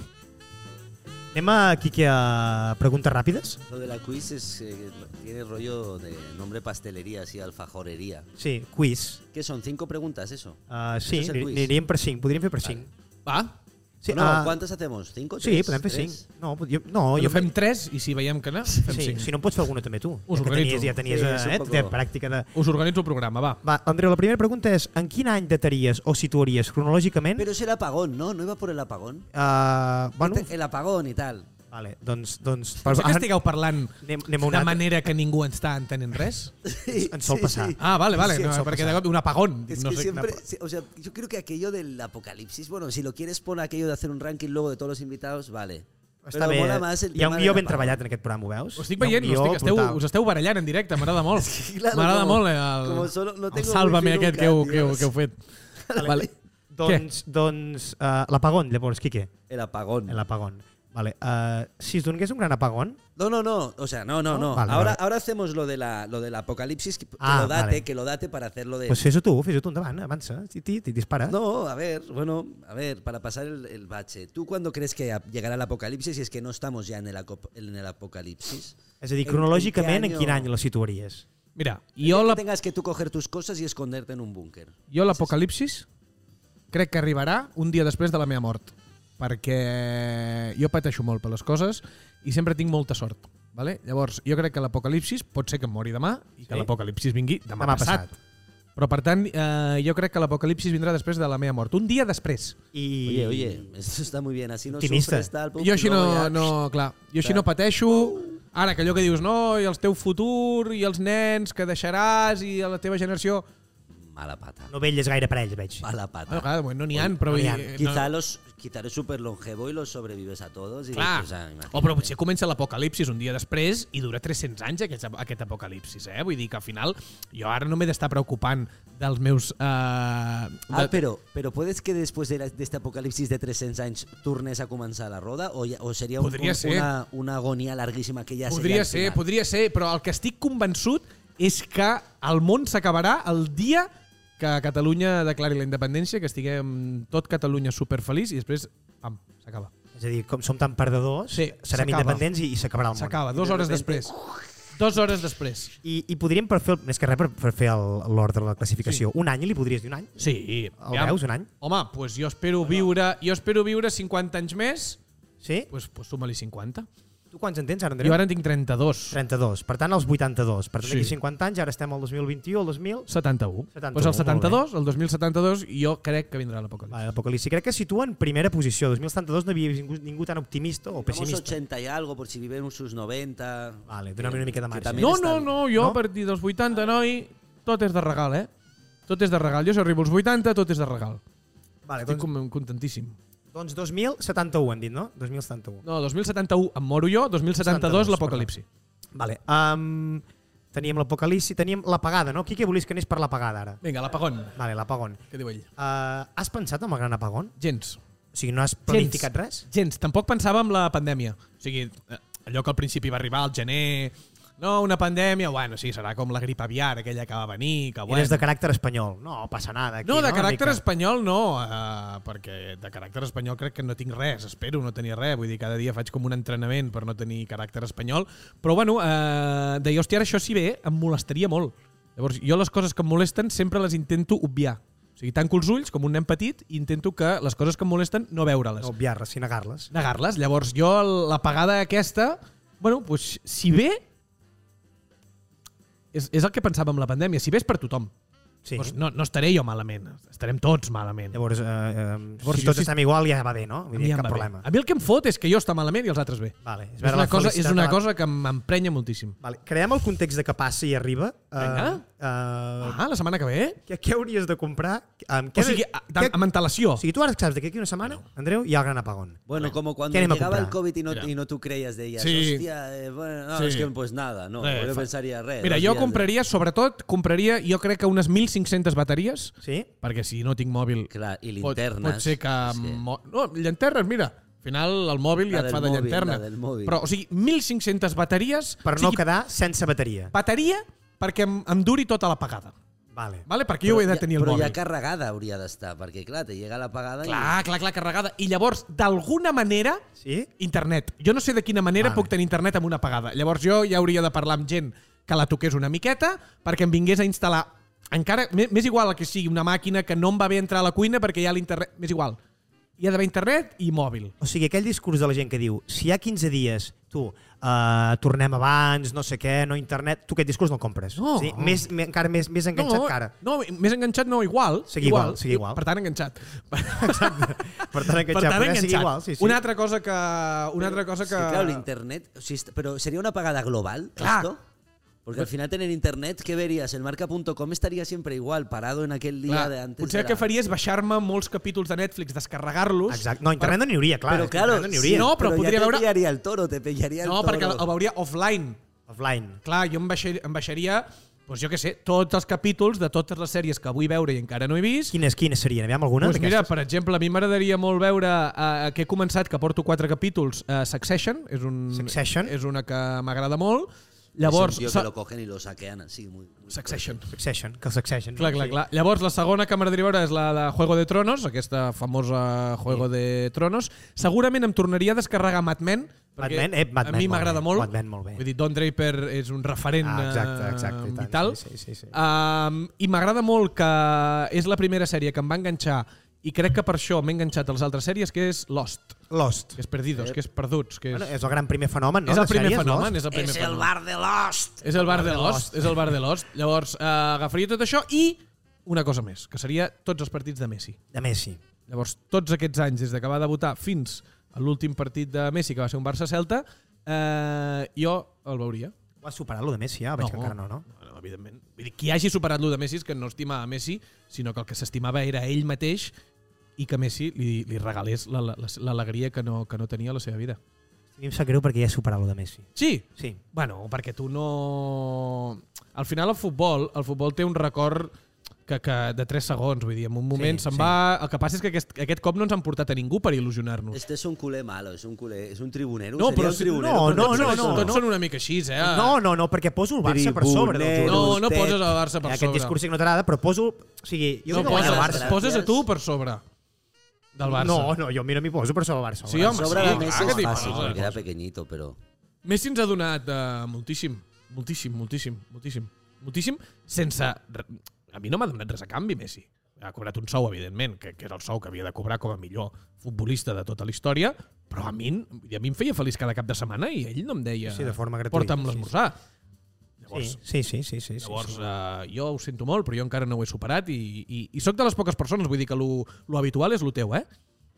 Anem aquí que a preguntes ràpides.
Lo de la quiz es, eh, tiene rollo de nombre pastelería, así, alfajorería.
Sí, quiz.
¿Qué son? ¿Cinco preguntas eso?
Uh, sí,
Això és el quiz.
aniríem per 5, podríem fer per 5.
Va,
Sí,
no,
ah,
¿cuántas hacemos? ¿Cinco?
sí
tres,
podem fer
tres?
5. No, jo, no,
jo
jo
doncs fem tres i si veiem que no, fem
Sí,
cinc.
si no en pots fer alguna també tu.
Us
ja que
organitzo.
tenies, ja tenies
Sí,
eh,
és un
eh,
poco-
de pràctica de...
Us organitzo el programa, va.
Va, Andreu, la primera pregunta és en quin any dataries o situaries cronològicament?
Pero es el apagón, ¿no? ¿No iba por el apagón? Este,
Uh, bueno,
El apagón y tal.
vale, doncs... doncs
Potser que estigueu parlant
anem, anem a una
de
altra.
manera que ningú ens està entenent res.
Ens sol passar.
Ah, vale, vale,
Sí,
no,
això
perquè
passa.
de cop un apagón.
Es
No
que
sé,
siempre, sí, o sea, yo creo que aquello del apocalipsis, bueno, si lo quieres pon aquello de hacer un ranking luego de todos los invitados, vale.
Està
Però
bé.
mola més el
Hi ha un
tema de
guió
la
ben
pava.
treballat en aquest programa, ho veus?
Ho estic
Hi ha un
veient,
guió
hòstic, esteu,
brutal.
us esteu barallant en directe, m'agrada molt.
claro,
m'agrada
com-
molt el,
como solo- no
el
tengo
sálvame
wifi nunca,
aquest que heu,
tío.
que heu, que heu fet. vale.
Doncs, doncs uh, l'apagón, llavors, Quique.
El apagón.
L'apagón. Vale. Uh, si es donés un gran apagón,
No, no, no. O sea, no, no, no.
Vale,
ahora,
vale.
ahora hacemos lo, de la, lo del apocalipsis. Que, que
Ah,
lo date,
vale.
que lo date para hacerlo de.
pues fes-ho tu, fes-ho tu endavant, avança, ti, ti, ti, dispara.
no, a ver, bueno, a ver, para pasar el, el bache. ¿Tú cuándo crees que ap- llegará el apocalipsis y es que no estamos ya en el, acop- en el apocalipsis?
És a dir,
en- en
cronològicament,
què
en quin
any
any la situaries?
Mira,
Que
jo la,
tengas que tú coger tus cosas y esconderte en un búnker.
Jo l'apocalipsis crec que arribarà un dia després de la meva mort, perquè jo pateixo molt per les coses i sempre tinc molta sort. Vale? Llavors, jo crec que l'apocalipsis pot ser que em mori demà i que
Sí.
l'apocalipsis vingui demà,
Demà
demà passat.
passat.
Però, per tant, eh, jo crec que l'apocalipsis vindrà després de la meva mort. Un dia després.
I...
Oye, oye, esto está muy bien. Así no
Optimista.
sufres tal. pum,
Jo
y
així
luego
no,
ya-
no, clar, jo així no pateixo. Ara, que allò que dius, no, i el teu futur, i els nens que deixaràs, i la teva generació...
Mala pata.
No velles gaire per ells, veig.
Mala pata.
Bueno, eh, clar, de moment no n'hi ha, però...
no n'hi ha.
vull dir,
Quizá los quitaré súper longevo y los sobrevives a todos. Y,
Clar.
o sea, imagínate.
O però potser comença l'apocalipsis un dia després i dura 300 anys aquest, aquest apocalipsis, eh? Vull dir que al final jo ara no m'he d'estar preocupant dels meus... Eh, de...
Ah, però, però podes que després de la- d'este de apocalipsis de 300 anys tornes a començar la roda o, ja, o seria un,
Podria
un,
ser.
una, una agonia larguíssima que ja
podria ser,
seria al final?
podria ser, però el que estic convençut és que el món s'acabarà el dia que Catalunya declari la independència, que estiguem tot Catalunya superfeliç i després, pam, s'acaba.
És a dir, com som tan perdedors,
Sí,
serem
s'acaba.
independents i, i s'acabarà el món.
S'acaba, dues hores després. Dues hores després.
I, I podríem, per fer, el- més que res, per, per fer el- l'ordre de la classificació, sí. un any, li podries dir un any?
Sí.
El veus, un any?
Home, pues jo espero viure, jo espero viure 50 anys més,
Sí?
pues, pues suma-li 50.
Tu quants en tens ara, Andreu?
Jo ara en tinc 32.
32, per tant, els 82. Per tant,
Sí.
d'aquí 50 anys, ara estem al 2021, al 2000...
71.
71,
pues el
molt bé.
72, el 2072, jo crec que vindrà l'apocalipsi.
Vale, l'apocalipsi. Crec que es situa en primera posició. 2072 no havia vist ningú, ningú tan optimista o
Vamos
pessimista.
80 y algo por si viven sus 90.
Vale, donem una mica de
Que
marge.
també
No,
està
no,
bé.
no, jo
No?
a partir dels 80, noi, tot és de regal, eh? Tot és de regal. Jo si arribo als 80, tot és de
Doncs-
regal.
Vale,
Estic
doncs,
com- contentíssim.
doncs 2071 hem dit, no? 2071.
No, 2071 em moro jo, 2072
72,
l'apocalipsi.
Vale. Um, teníem l'apocalipsi, teníem l'apagada, no? Qui que volies que anés per l'apagada ara?
Vinga, l'apagón.
Vale, l'apagón.
Què diu ell?
Uh, has pensat en el gran apagón?
Gens.
O sigui, no has planificat res?
Gens. Tampoc pensava en la pandèmia. O sigui, eh, allò que al principi va arribar al gener... No, una pandèmia, bueno, sí, serà com la grip aviar, aquella que va venir, que Ah, bueno...
Eres de caràcter espanyol. No, passa nada. Aquí,
No,
Una
de caràcter
mica.
espanyol no, eh, perquè de caràcter espanyol crec que no tinc res, espero no tenir res, vull dir, cada dia faig com un entrenament per no tenir caràcter espanyol, però bueno, eh, deia, hòstia, ara això si ve em molestaria molt. Llavors, jo les coses que em molesten sempre les intento obviar. O sigui, tanco els ulls com un nen petit i intento que les coses que em molesten no veure-les,
No obviar-les, sin negar-les.
negar-les. Llavors, jo la pagada aquesta, bueno, doncs, si ve, és, és el que pensava amb la pandèmia, si ve és per tothom.
Sí.
Doncs no, no estaré jo malament, estarem tots malament.
Llavors, eh, eh,
Llavors,
si
jo
tots
sí-
estem igual ja va bé, no? Vull dir,
em
cap
va bé.
problema.
A mi el que em fot és que jo està malament i els altres bé.
Vale,
És,
veure
una
la
cosa, és
felicitat
una
de la-
cosa que m'emprenya moltíssim.
Vale. Creem el context de que passa i arriba.
Vinga.
Uh, uh,
Ah, la setmana que ve?
què, què hauries de comprar? Amb
O sigui, a- de- amb antelació.
o sigui, tu ara saps que aquí una setmana, Andreu, hi ha el gran apagón.
Bueno, como cuando
¿Qué anima a
llegaba el
comprar?
COVID y no,
Mira.
y no tú creías de ellas.
Sí.
Hostia, eh, bueno, no,
Sí.
es que pues nada, no.
Re,
yo
fa-
pensaría red.
Mira, jo
eh.
compraria, sobretot, compraria, jo crec que unes 1.500 bateries,
Sí?
perquè si no tinc mòbil
Clar, i
pot, mm,
linternes.
pot ser que...
és que-
mo- No, llanternes, mira. Al final el mòbil
La
ja et
del
fa de
mòbil,
llanterna.
la del mòbil.
Però, o sigui, 1.500 bateries...
Per
o
no
sigui,
quedar sense bateria.
Bateria perquè em, em duri tota la pagada.
Vale.
Vale? Perquè jo ho he de tenir
ja,
el
però
mòbil.
ja carregada hauria d'estar, perquè clar, te llega l'apagada i...
Clar, clar, clar, carregada. I llavors, d'alguna manera,
Sí?
internet. Jo no sé de quina manera
Vale.
puc tenir internet amb una pagada. Llavors jo ja hauria de parlar amb gent que la toqués una miqueta perquè em vingués a instal·lar encara, m'és m'és igual que sigui una màquina que no em va bé entrar a la cuina perquè hi ha l'internet, m'és igual. Hi ha d'haver internet i mòbil.
O sigui, aquell discurs de la gent que diu si hi ha 15 dies, tu, eh, tornem abans, no sé què, no internet, tu aquest discurs no el compres.
No.
És a dir, més, me- encara més, més enganxat
no,
que ara.
No, més enganxat no, igual.
Sigui igual, sigui igual.
Per tant, enganxat.
Per tant,
per
enganxat.
tant,
podria seguir
enganxat.
Igual, sí, sí.
Una altra cosa que... Una altra cosa
És
que...
que, clar, l'internet... O sigui, est- però seria una apagada global,
Clar.
esto? Porque al final tener internet, ¿qué verías? El marca.com estaría siempre igual, parado en aquel día
Clar,
de antes. de
potser el
la-
que faria és baixar-me molts capítols de Netflix, descarregar-los...
Exacte. No, internet no n'hi hauria, clar.
Però
és que
claro,
internet no n'hi
sí,
hauria.
no, però podria
ja
veure-
te pillaria el toro, te pillaria el
No,
toro.
perquè el veuria offline.
Offline.
Clar, jo em baixaria, em baixaria doncs jo què sé, tots els capítols de totes les sèries que vull veure i encara no he vist,
Quines, quines serien? Aviam alguna?
Pues Doncs mira,
d'aquestes?
per exemple, a mi m'agradaria molt veure eh, que he començat, que porto quatre capítols, eh, Succession, és, un,
Succession.
és una que m'agrada molt.
Llavors,
Llavors,
tío
sa-
que lo cogen y lo saquean así. Muy, muy
Succession.
Succession, que el Succession.
Clar, clar, clar. Llavors, la segona que m'agradaria veure és la de Juego de Tronos, aquesta famosa Juego de Tronos. Segurament em tornaria a descarregar Mad Men,
Mad
perquè
Men, eh, Mad Men,
a mi
molt
m'agrada
bé.
molt.
Mad Men, molt bé.
Vull dir, Don Draper és un referent
Ah, exacte,
eh,
exacte, i tant,
vital.
sí, sí, sí, sí.
Um, I m'agrada molt que és la primera sèrie que em va enganxar i crec que per això m'he enganxat a les altres sèries, que és Lost.
Lost.
que és perdidos, que és perduts, que
Eh,
és...
Bueno, és el gran primer fenomen, no?
és el
de
primer
sèries,
fenomen,
Lost?
és el primer
Es el
fenomen.
bar de Lost.
És el bar Ah, de Lost, és el bar de Lost. Llavors, eh, agafaria tot això i una cosa més, que seria tots els partits de Messi.
De Messi.
Llavors, tots aquests anys, des de que va debutar fins a l'últim partit de Messi, que va ser un Barça-Celta, eh, jo el veuria.
Ho has superat, lo de Messi, ja? Veig que encara no, no?
No, no, evidentment. Vull dir, qui hagi superat lo de Messi és que no estima a Messi, sinó que el que s'estimava era ell mateix i que Messi li, li regalés la- la- l'alegria que, no, que no tenia a la seva vida.
A mi em sap greu perquè ja he superat lo de Messi.
Sí,
Sí.
Bueno, perquè tu no... Al final el futbol, el futbol té un record que, que de 3 segons, vull dir, en un
Sí,
moment sí,
sí.
se'n sí. va... El que passa és que aquest, aquest cop no ens han portat a ningú per il·lusionar-nos.
Este es un culé malo, es un culé, es un tribunero.
No,
sería
però...
un
si-
tribunero,
No,
pero
no,
es
no,
eso,
no, tots són una mica així, eh?
No, no, no, perquè poso el Barça per sobre del
Tribunero.
jugador.
no, no
vostè-
poses el Barça per
Hi ha
sobre.
Aquest discurs que no t'agrada, però poso... O sigui, jo crec
no,
que guanya
poses,
el
poses-
Barça.
poses a tu per sobre del Barça.
No, no, jo mira, m'hi poso per sobre el Barça.
Sí, home,
Sobre
sí,
la
clar
mesa
que
es
t'hi
fácil,
poses.
porque era pequeñito, pero...
Messi ens ha donat uh, moltíssim, moltíssim, moltíssim, moltíssim, moltíssim, sense... re- A mi no m'ha donat res a canvi, Messi. Ha cobrat un sou, evidentment, que, que era el sou que havia de cobrar com a millor futbolista de tota la història, però a mi, vull dir, a mi em feia feliç cada cap de setmana i ell no em deia...
Sí, de forma gratuïta,
Porta'm
sí,
l'esmorzar. Llavors,
Sí, sí, sí, sí, sí, sí,
Llavors,
sí.
eh, jo ho sento molt, però jo encara no ho he superat i, i, i sóc de les poques persones, vull dir que lo, lo habitual és lo teu, eh?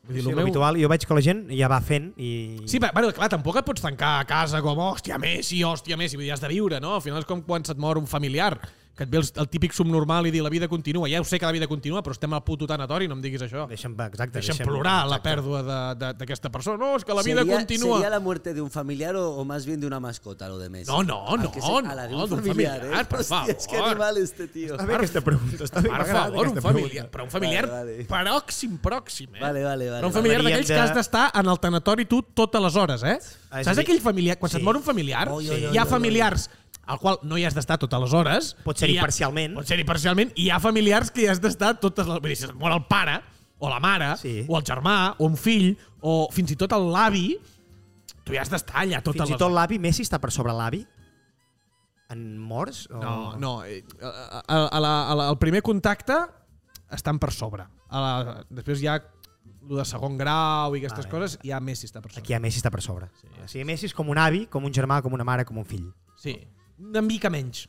Vull
Sí,
dir,
lo
lo meu...
habitual, jo veig que la gent ja va fent i...
Sí, va- bueno, clar, tampoc et pots tancar a casa com, hòstia, Messi, hòstia, Messi, vull dir, has de viure, no? Al final és com quan se't mor un familiar, que et ve el, el típic subnormal i dir la vida continua. Ja ho sé que la vida continua, però estem al puto tanatori, no em diguis això.
Deixa'm, exacte,
Deixa'm plorar la pèrdua de- de- d'aquesta persona. No, és que la vida
¿Sería-
continua.
¿Sería la muerte de un familiar o, o más bien de una mascota lo de Messi?
No, no,
Al
no,
que se- a la de
no,
un
de un
familiar,
familiar,
¿eh?
per
Hostia, es que
favor.
animal este tío.
Està bé aquesta pregunta, està bé.
Per
m'agrada
favor, un
aquesta
familiar,
pregunta.
però un familiar
Vale, vale.
pròxim, pròxim, eh?
Vale, vale, vale,
Però un familiar
vale.
d'aquells
Hauríem
que
de-
has d'estar en el tanatori tu totes les hores, eh?
Ah, és a
Saps
dir-
aquell familiar, quan
Sí.
se't mor un familiar,
Oi, oi, oi,
hi ha
oi,
familiars al qual no hi has d'estar totes les hores.
Pot ser-hi
i hi ha-
parcialment.
Pot ser-hi parcialment. I hi ha familiars que hi has d'estar totes les... Vull dir, si et mor el pare, o la mare,
Sí.
o el germà, o un fill, o fins i tot el l'avi, tu hi has d'estar allà totes
Fins i
les
tot l'avi Messi està per sobre l'avi? En morts? O...
No, no. eh, A, a, a la, a la, el primer contacte estan per sobre. A la, després hi ha el de segon grau i aquestes
Vale.
coses, i ja Messi està per sobre.
Aquí a Messi està per sobre. Sí. O sigui, Messi és com un avi, com un germà, com una mare, com un fill.
Sí. Una mica menys.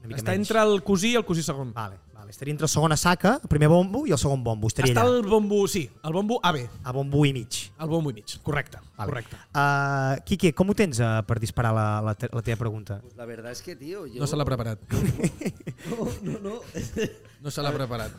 Una mica
està
menys. Ah,
entre el cosí i el cosí segon.
Vale, vale. Estaria entre el segon a saca, el primer bombo i el segon bombo. Estaria
està
allà,
el bombo, sí, el bombo AB,
a bombo i mig.
el bombo i mig. Correcte,
Vale.
correcte.
Uh, Quique, com ho tens uh, per disparar la, la, te la teva pregunta?
Pues la verdad es que, tío, yo...
No se l'ha preparat.
No, no, no.
No se l'ha preparat.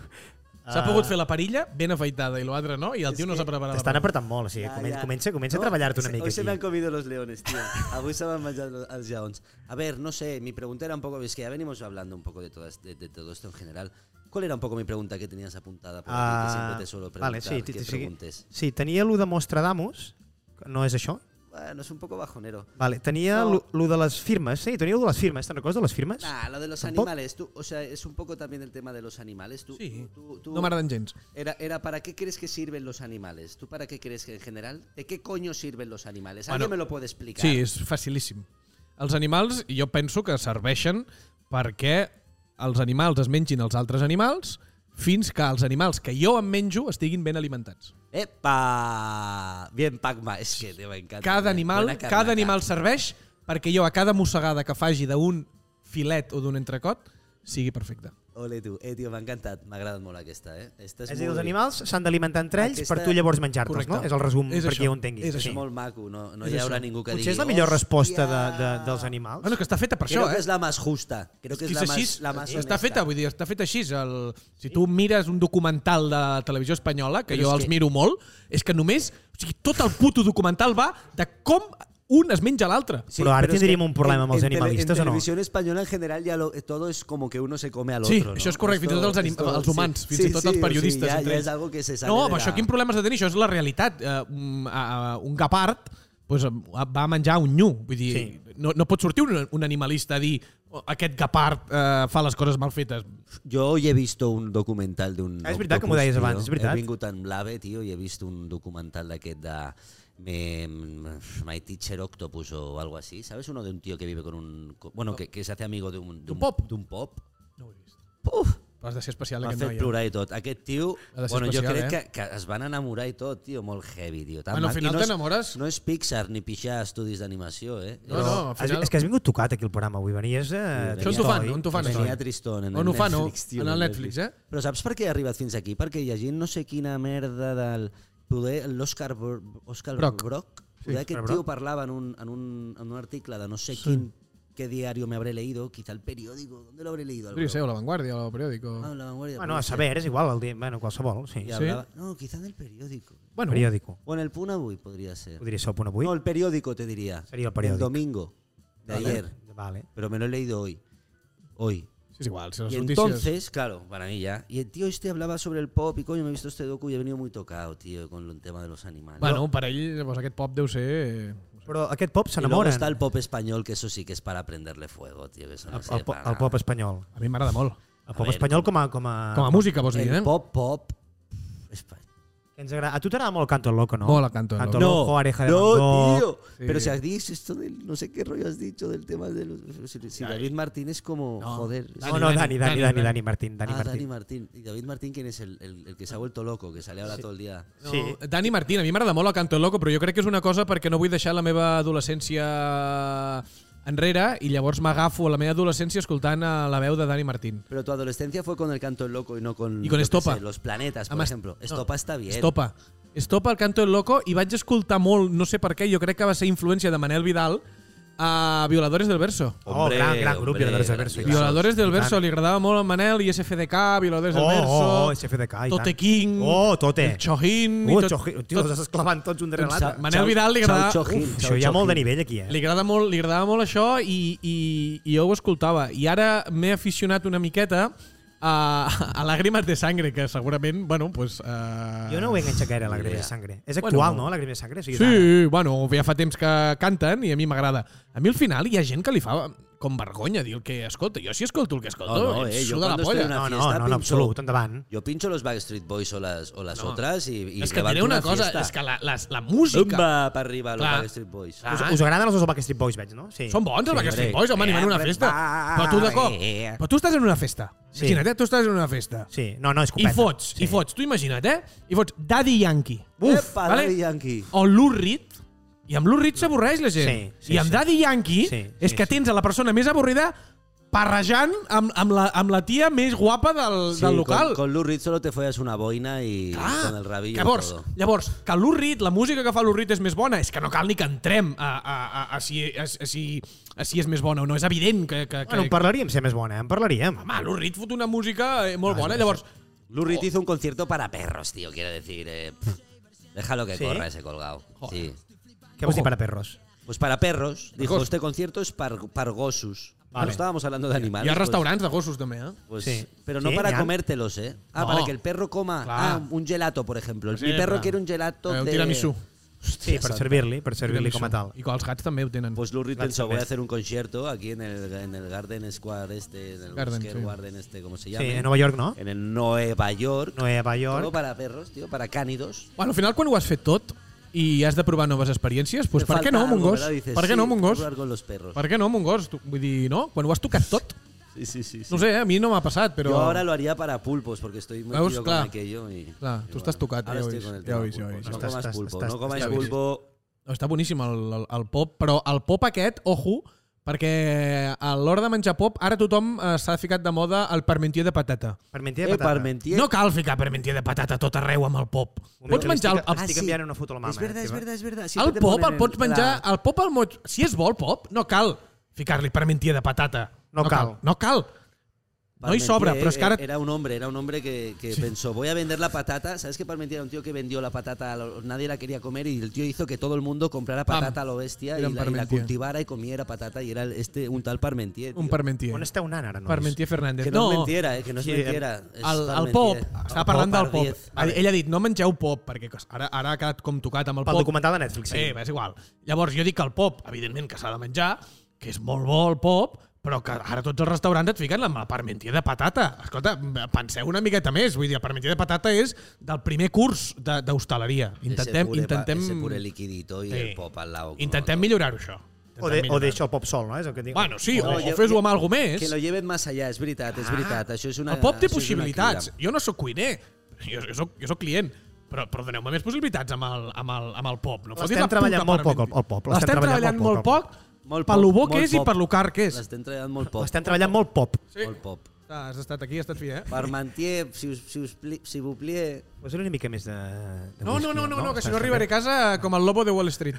Ah.
S'ha pogut fer la parilla ben afaitada i l'altre no, i el tio no s'ha preparat. la
T'estan
parella.
apretant molt, o sigui,
Ya,
comen
ya.
comença, comença
No,
a treballar-te una
se-
mica
Hoy se me han
aquí.
comido los leones, tío. Avui se me han manchado los leones. A ver, no sé, mi pregunta era un poco... Es que ya venimos hablando un poco de, todas, de, de todo esto en general. ¿Cuál era un poco mi pregunta que tenías apuntada? Por aquí, que siempre te suelo
Ah, vale,
preguntar
sí,
que
sí,
preguntes.
sí, sí, tenia lo de Mostradamus, que no és això?
Bueno, es un poco bajonero.
Vale, tenia
No.
lo, lo de les firmes, sí, tenia lo de les firmes, te'n recordes de les firmes?
Nah, lo de los
Tampoco.
animales, tú, o sea, es un poco también el tema de los animales. Tú,
Sí,
tú- tú-
no m'agraden gens.
era, era, ¿para qué crees que sirven los animales? ¿Tú para qué crees que en general? ¿De qué coño sirven los animales? ¿Alguien
Bueno,
me lo puede explicar?
Sí, és facilíssim. Els animals, jo penso que serveixen perquè els animals es mengin els altres animals fins que els animals que jo em menjo estiguin ben alimentats.
¡Epa! Bien, Pacma, es que te va a encantar.
Cada animal,
Buena carnaca.
cada animal serveix perquè jo a cada mossegada que faci d'un filet o d'un entrecot sigui perfecte.
Ole tu. Eh, tio, m'ha encantat. M'ha agradat molt aquesta, eh? Aquesta
És
és,
a dir,
molt
els animals s'han d'alimentar entre ells
Aquesta-
per tu llavors menjar-te'ls,
Correcte.
no? És el resum
És
per qui
això.
ho entengui.
És
És
Sí.
molt maco, no, no
És
hi haurà
això.
ningú que digui...
Potser és la millor resposta de, de,
"Hòstia".
dels animals.
Bueno, que està feta per
Creo
això,
que
eh?
és la més justa. Creo que és,
és
la,
així,
més, la més honesta.
està feta, vull dir, està feta així. El, si tu mires un documental de televisió espanyola, que
Però
jo
és
els
que-
miro molt, és que només... O sigui, tot el puto documental va de com un es menja l'altre.
Però ara
es
tindríem
que
un problema amb els
en tele-
animalistes,
en
o no?
televisión española en general ya lo, todo es como que uno se come al otro.
Sí,
no?
això és correcte, fins i tot els anim- els humans, fins i tot els periodistes,
O sigui,
entre
ja, ja és
ells.
algo que se sale
No,
de
però
la-
això quin problema has de tenir? Això és la realitat. Uh, un, uh, un gapard pues, va menjar un nyu. Vull dir,
Sí.
sí. no, no pot sortir un, un animalista a dir "Oh, aquest gapard uh, fa les coses mal fetes.
Jo hoy he visto un documental d'un...
Ah, és veritat, com ho
octopus,
deies
tio.
abans, és veritat.
He vingut en l'AVE, tio, i he vist un documental d'aquest de... Me, my teacher octopus o algo así, ¿sabes? Uno de un tío que vive con un... co- Bueno, que, que se hace amigo de un...
D'un pop.
De un pop.
No ho he vist.
Puf!
Però has de ser especial,
M'ha
aquest
fet
noi. eh?
plorar i tot. Aquest tio,
Ha de ser
bueno, jo
especial,
crec
eh?
que, que es van enamorar i tot, tio, molt heavy, tio. Tan
Bueno, al
maco. I
final
no és-
t'enamores.
No és Pixar ni pixar estudis d'animació, eh?
No, no, al
Has, vi-
final...
és que has vingut tocat aquí el programa avui, venies... Eh,
Això ens ho fan, on ho fan?
Venia
això?
Tristón en
On
el
ho fan,
Netflix, tio,
en
en
el
el
Netflix, eh?
Però saps per què ha arribat fins aquí? Perquè llegint no sé quina merda del... Poder l'Òscar Bro- Òscar
Brock.
Brock. Poder aquest
Brock.
tio parlava en un, en un, en un article de no sé quin qué diario me habré leído, quizá el periódico, ¿dónde lo habré leído? al
Podria
Brock?
ser, o La Vanguardia, o El Periódico.
Ah, en la vanguardia.
Bueno,
podria
a
ser.
saber, és igual, el dia, bueno, qualsevol, sí.
I
ja.
hablava- No, quizá en el periódico.
Bueno,
Periòdico.
O en el Punt Avui podria ser.
Podria ser el punt avui.
No, el periódico te diría.
Sería el periódico.
El domingo, de ayer.
Vale.
Pero me lo he leído hoy. Hoy.
és igual, si les
Y
notícies...
entonces, claro, para mí ya. Y el tío este hablaba sobre el pop y coño, me he visto este docu y he venido muy tocado, tío, con el tema de los animales.
Bueno, per ell, llavors, aquest pop deu ser...
Però aquest pop
Y luego
s'enamora.
está el pop español, que eso sí que es para prenderle fuego, tío. Que eso no
El,
sé,
el, po-
para-
el pop espanyol.
A mi m'agrada molt.
El pop
veure,
espanyol com a... Com a,
Com a música, vols dir,
Ah, El
eh?
pop, pop. espa-
que Ens agrada. A tu t'agrada molt Canto Loco, no?
Molt el Canto
Canto
Loco.
Loco, Oreja de Van
no,
Gogh.
tío.
Sí.
Pero si has dicho esto del. No sé qué rollo has dicho del tema de los. Si, si David Martín es como.
No.
Joder. es
eh. No, no, Dani, Dani, Dani, Dani, Dani Martín. Dani
ah, Dani
Martín.
Martín. ¿Y David Martín quién es? El, el- el que se ha vuelto loco, que sale ahora todo el día.
No,
Sí.
Dani Martín, a mi m'agrada molt el Canto Loco, però jo crec que és una cosa perquè no vull deixar la meva adolescència enrere i llavors m'agafo a la meva adolescència escoltant a la veu de Dani Martín.
Pero tu adolescencia fue con el canto del loco y no con,
Y con
yo qué
Estopa.
sé, los planetas, por
Además,
ejemplo.
no,
Estopa está bien.
Estopa. Estopa el Canto del Loco i vaig escoltar molt, no sé per què, jo crec que va ser influència de Manel Vidal a Violadores del Verso.
Oh, gran, gran grup, Violadores del Verso.
gran-
Violadores del
I tant.
Verso, li agradava molt a Manel i SFDK, Violadores del
Oh,
Verso,
oh, oh, SFDK, i
Tote
tant.
King,
Oh, Tote.
el Chojín... i
Uh,
tot-
Choji- tio, els estàs clavant tots un darrere
Doncs,
l'altre.
Manel Vidal li agrada-
Chao Chojín,
Uf,
Chao
això hi ha molt de
Chojín.
nivell aquí, eh?
Li agrada molt, li agradava molt això i, i, i jo ho escoltava. I ara m'he aficionat una miqueta a, a Làgrimes de Sangre, que segurament, bueno, pues... Uh...
Jo no ho he enganxat gaire, la Grima de Sangre. És actual,
Bueno.
no, la Grima de Sangre? O sigui, és ara.
Sí, bueno, ja fa temps que canten i a mi m'agrada. A mi al final hi ha gent que li fa com vergonya dir el que escolta. Jo si escolto el que escolto,
No, no,
em
eh, jo
suda la
quan estoy
polla.
en una
No, no,
fiesta,
no, en
pincho.
absolut, endavant.
Yo pincho los Backstreet Boys o las, o las
No.
otras y, y
és que
levanto
diré una cosa,
fiesta.
és que la, la, la música...
Zumba para arriba los
Clar.
Backstreet Boys.
Clar.
Us, us agraden els dos Backstreet Boys, veig, no? Sí.
Són bons, els Backstreet
hombre.
Boys, home, animen una festa. Però tu, de cop,
Eh.
però tu estàs en una festa.
Sí.
Imagina't, eh, tu estàs en una festa.
Sí, no, no, és
I
copeta.
fots,
sí.
i fots. Tu imagina't, eh? I fots Daddy Yankee.
Epa, Daddy Yankee.
O Lurrit. I amb Lurrit s'avorreix la gent.
Sí, sí,
I amb
sí.
Daddy
Sí,
Yankee
sí,
és que
sí.
tens a la persona més avorrida parrejant amb, amb, la, amb la tia més guapa del,
Sí,
del local.
Con, con Lou Reed solo te follas una boina y con el rabillo y
llavors,
todo.
llavors, que l'Urrit, la música que fa l'Urrit és més bona, és que no cal ni que entrem a, a, a, a, si, a, a, si, a si és més bona o no. És evident que... que, que
Bueno, en parlaríem, ser més bona, eh? en parlaríem.
Home, l'Urrit fot una música eh,
Ah,
molt bona, llavors...
Lou Reed hizo un concierto para perros, tío, quiero decir. eh, pff, déjalo que
¿Sí?
corra ese colgado. Sí.
Què vols dir
Ojo.
para perros?
Pues para perros, dijo,
Gos-
este concierto es para pargosus.
Vale.
No estábamos hablando de animales.
Hi ha
pues-
restaurants de gossos, també, eh?
pues-
Sí.
Pero no
Sí,
para
ya.
comértelos, ¿eh? Ah,
No.
para que el perro coma
Claro.
ah, un gelato, por ejemplo. El-
Sí,
Mi perro
claro.
quiere un gelato
Eh, un
de...
tiramisú.
Sí, per
santa.
servir-li, per servir-li com a tal.
I que els gats també ho tenen.
Pues Lou Reed
Gracias,
pensó, voy a
Andrés.
hacer un concierto aquí en el, en el Garden Square este, en el
Garden,
Square
sí.
Garden este, como se llama.
Sí, a Nova York, no?
En el Nueva York.
Nova
Todo
York.
para perros, tío, para cánidos.
Bueno, al final, quan ho has fet tot i has de provar noves experiències, doncs
Me
per què
falta
Pues, no amb un
algo,
gos?
¿verdad? Dices,
Per què
sí,
no amb un gos?
jugar con los perros.
Per què no amb un gos? Tu- Vull dir, no? Quan ho has tocat tot?
Sí, sí, sí.
No ho sé, eh? a mi no m'ha passat, però...
Yo ahora lo haría para pulpos, porque estoy metido
Veus,
con
clar.
aquello. Y,
Clar,
y
tú estás tocado,
ahora
ja ho
estoy
veus,
con el
ja
tema
ho veis, ja ho
pulpos.
veis.
No
Estàs-
comáis
estàs-
pulpo,
estàs-
no comáis
estàs-
pulpo.
No, Està boníssim el, el, el pop, però el pop aquest, ojo, Perquè a l'hora de menjar pop, ara tothom eh, s'ha ficat de moda el parmentier de patata.
Parmentier de
Eh,
patata.
Parmentier.
No cal ficar parmentier de patata a tot arreu amb el pop.
Un moment
Pots
que
menjar el,
l'estic-
Ah,
el,
Estic enviant una foto a la mama,
Es verdad,
eh,
es
teva.
verdad, es verdad.
el
Siempre te
pop,
ponen
el pots
la-
menjar... El pop al mot... Si és bo el pop, no cal ficar-li parmentier de patata.
No cal.
No cal. No hi
Parmentier, eh,
sobra, però és que ara...
Era un hombre, era un hombre que, que pensó, voy a vender la patata. ¿Sabes que Parmentier era un tío que vendió la patata? a lo- Nadie la quería comer y el tío hizo que todo el mundo comprara
Pam.
patata a lo bestia y
Era un
la, y la
Parmentier.
cultivara y comiera patata. Y era el- este un tal Parmentier.
Un
tío.
parmentier.
On esteu anant ara, nois?
Parmentier Fernández.
Que no, es mentiera, eh, que no es
Sí,
mentiera. es
El, el
Parmentier.
pop, estava parlant del
al
pop.
10.
Ell ell ha dit, no mengeu pop, perquè cos- ara, ara ha quedat com tocat amb el
Pel
pop.
documental de Netflix,
Sí,
sí.
bé, és igual. Llavors, jo dic que el pop, evidentment que s'ha de menjar, que és molt bo el pop, però que ara tots els restaurants et fiquen la la parmentier de patata. Escolta, penseu una miqueta més. Vull dir, la parmentier de patata és del primer curs de- d'hostaleria.
Ese
Intentem,
pure, pa-
intentem,
Ese pure liquidito y
Sí.
el pop al lado. como-
intentem millorar-ho, això.
O, de, o
Intentem
deixa el pop sol, no? És el que dic.
Bueno, sí,
O
o,
de-
No,
o
jo-
fes-ho
jo-
amb alguna
Que
més.
lo lleven más allá, es veritat, es veritat. Això és una,
Ah. El
Eh,
pop té
això és una
possibilitats.
crida.
Jo no sóc cuiner. Jo, jo, soc, jo soc client. Però, però doneu-me més possibilitats amb el, amb el, amb el pop. No
L'estem treballant molt poc, el- el pop. L'estem
L'estem
treballant
treballant
molt
molt
poc,
poc,
Molt
per lo
pop,
bo que
molt
és i
pop.
per lo car que és.
L'estem treballant molt pop.
Estem treballant molt pop.
Molt pop.
Ah, has estat aquí, has estat fi, eh?
Parmentier, si us, si us pli, si vous plie.
Posa una mica més de... de
No, no,
whisky,
no, no, no que si no
Està-
arribaré a casa com el lobo de Wall Street.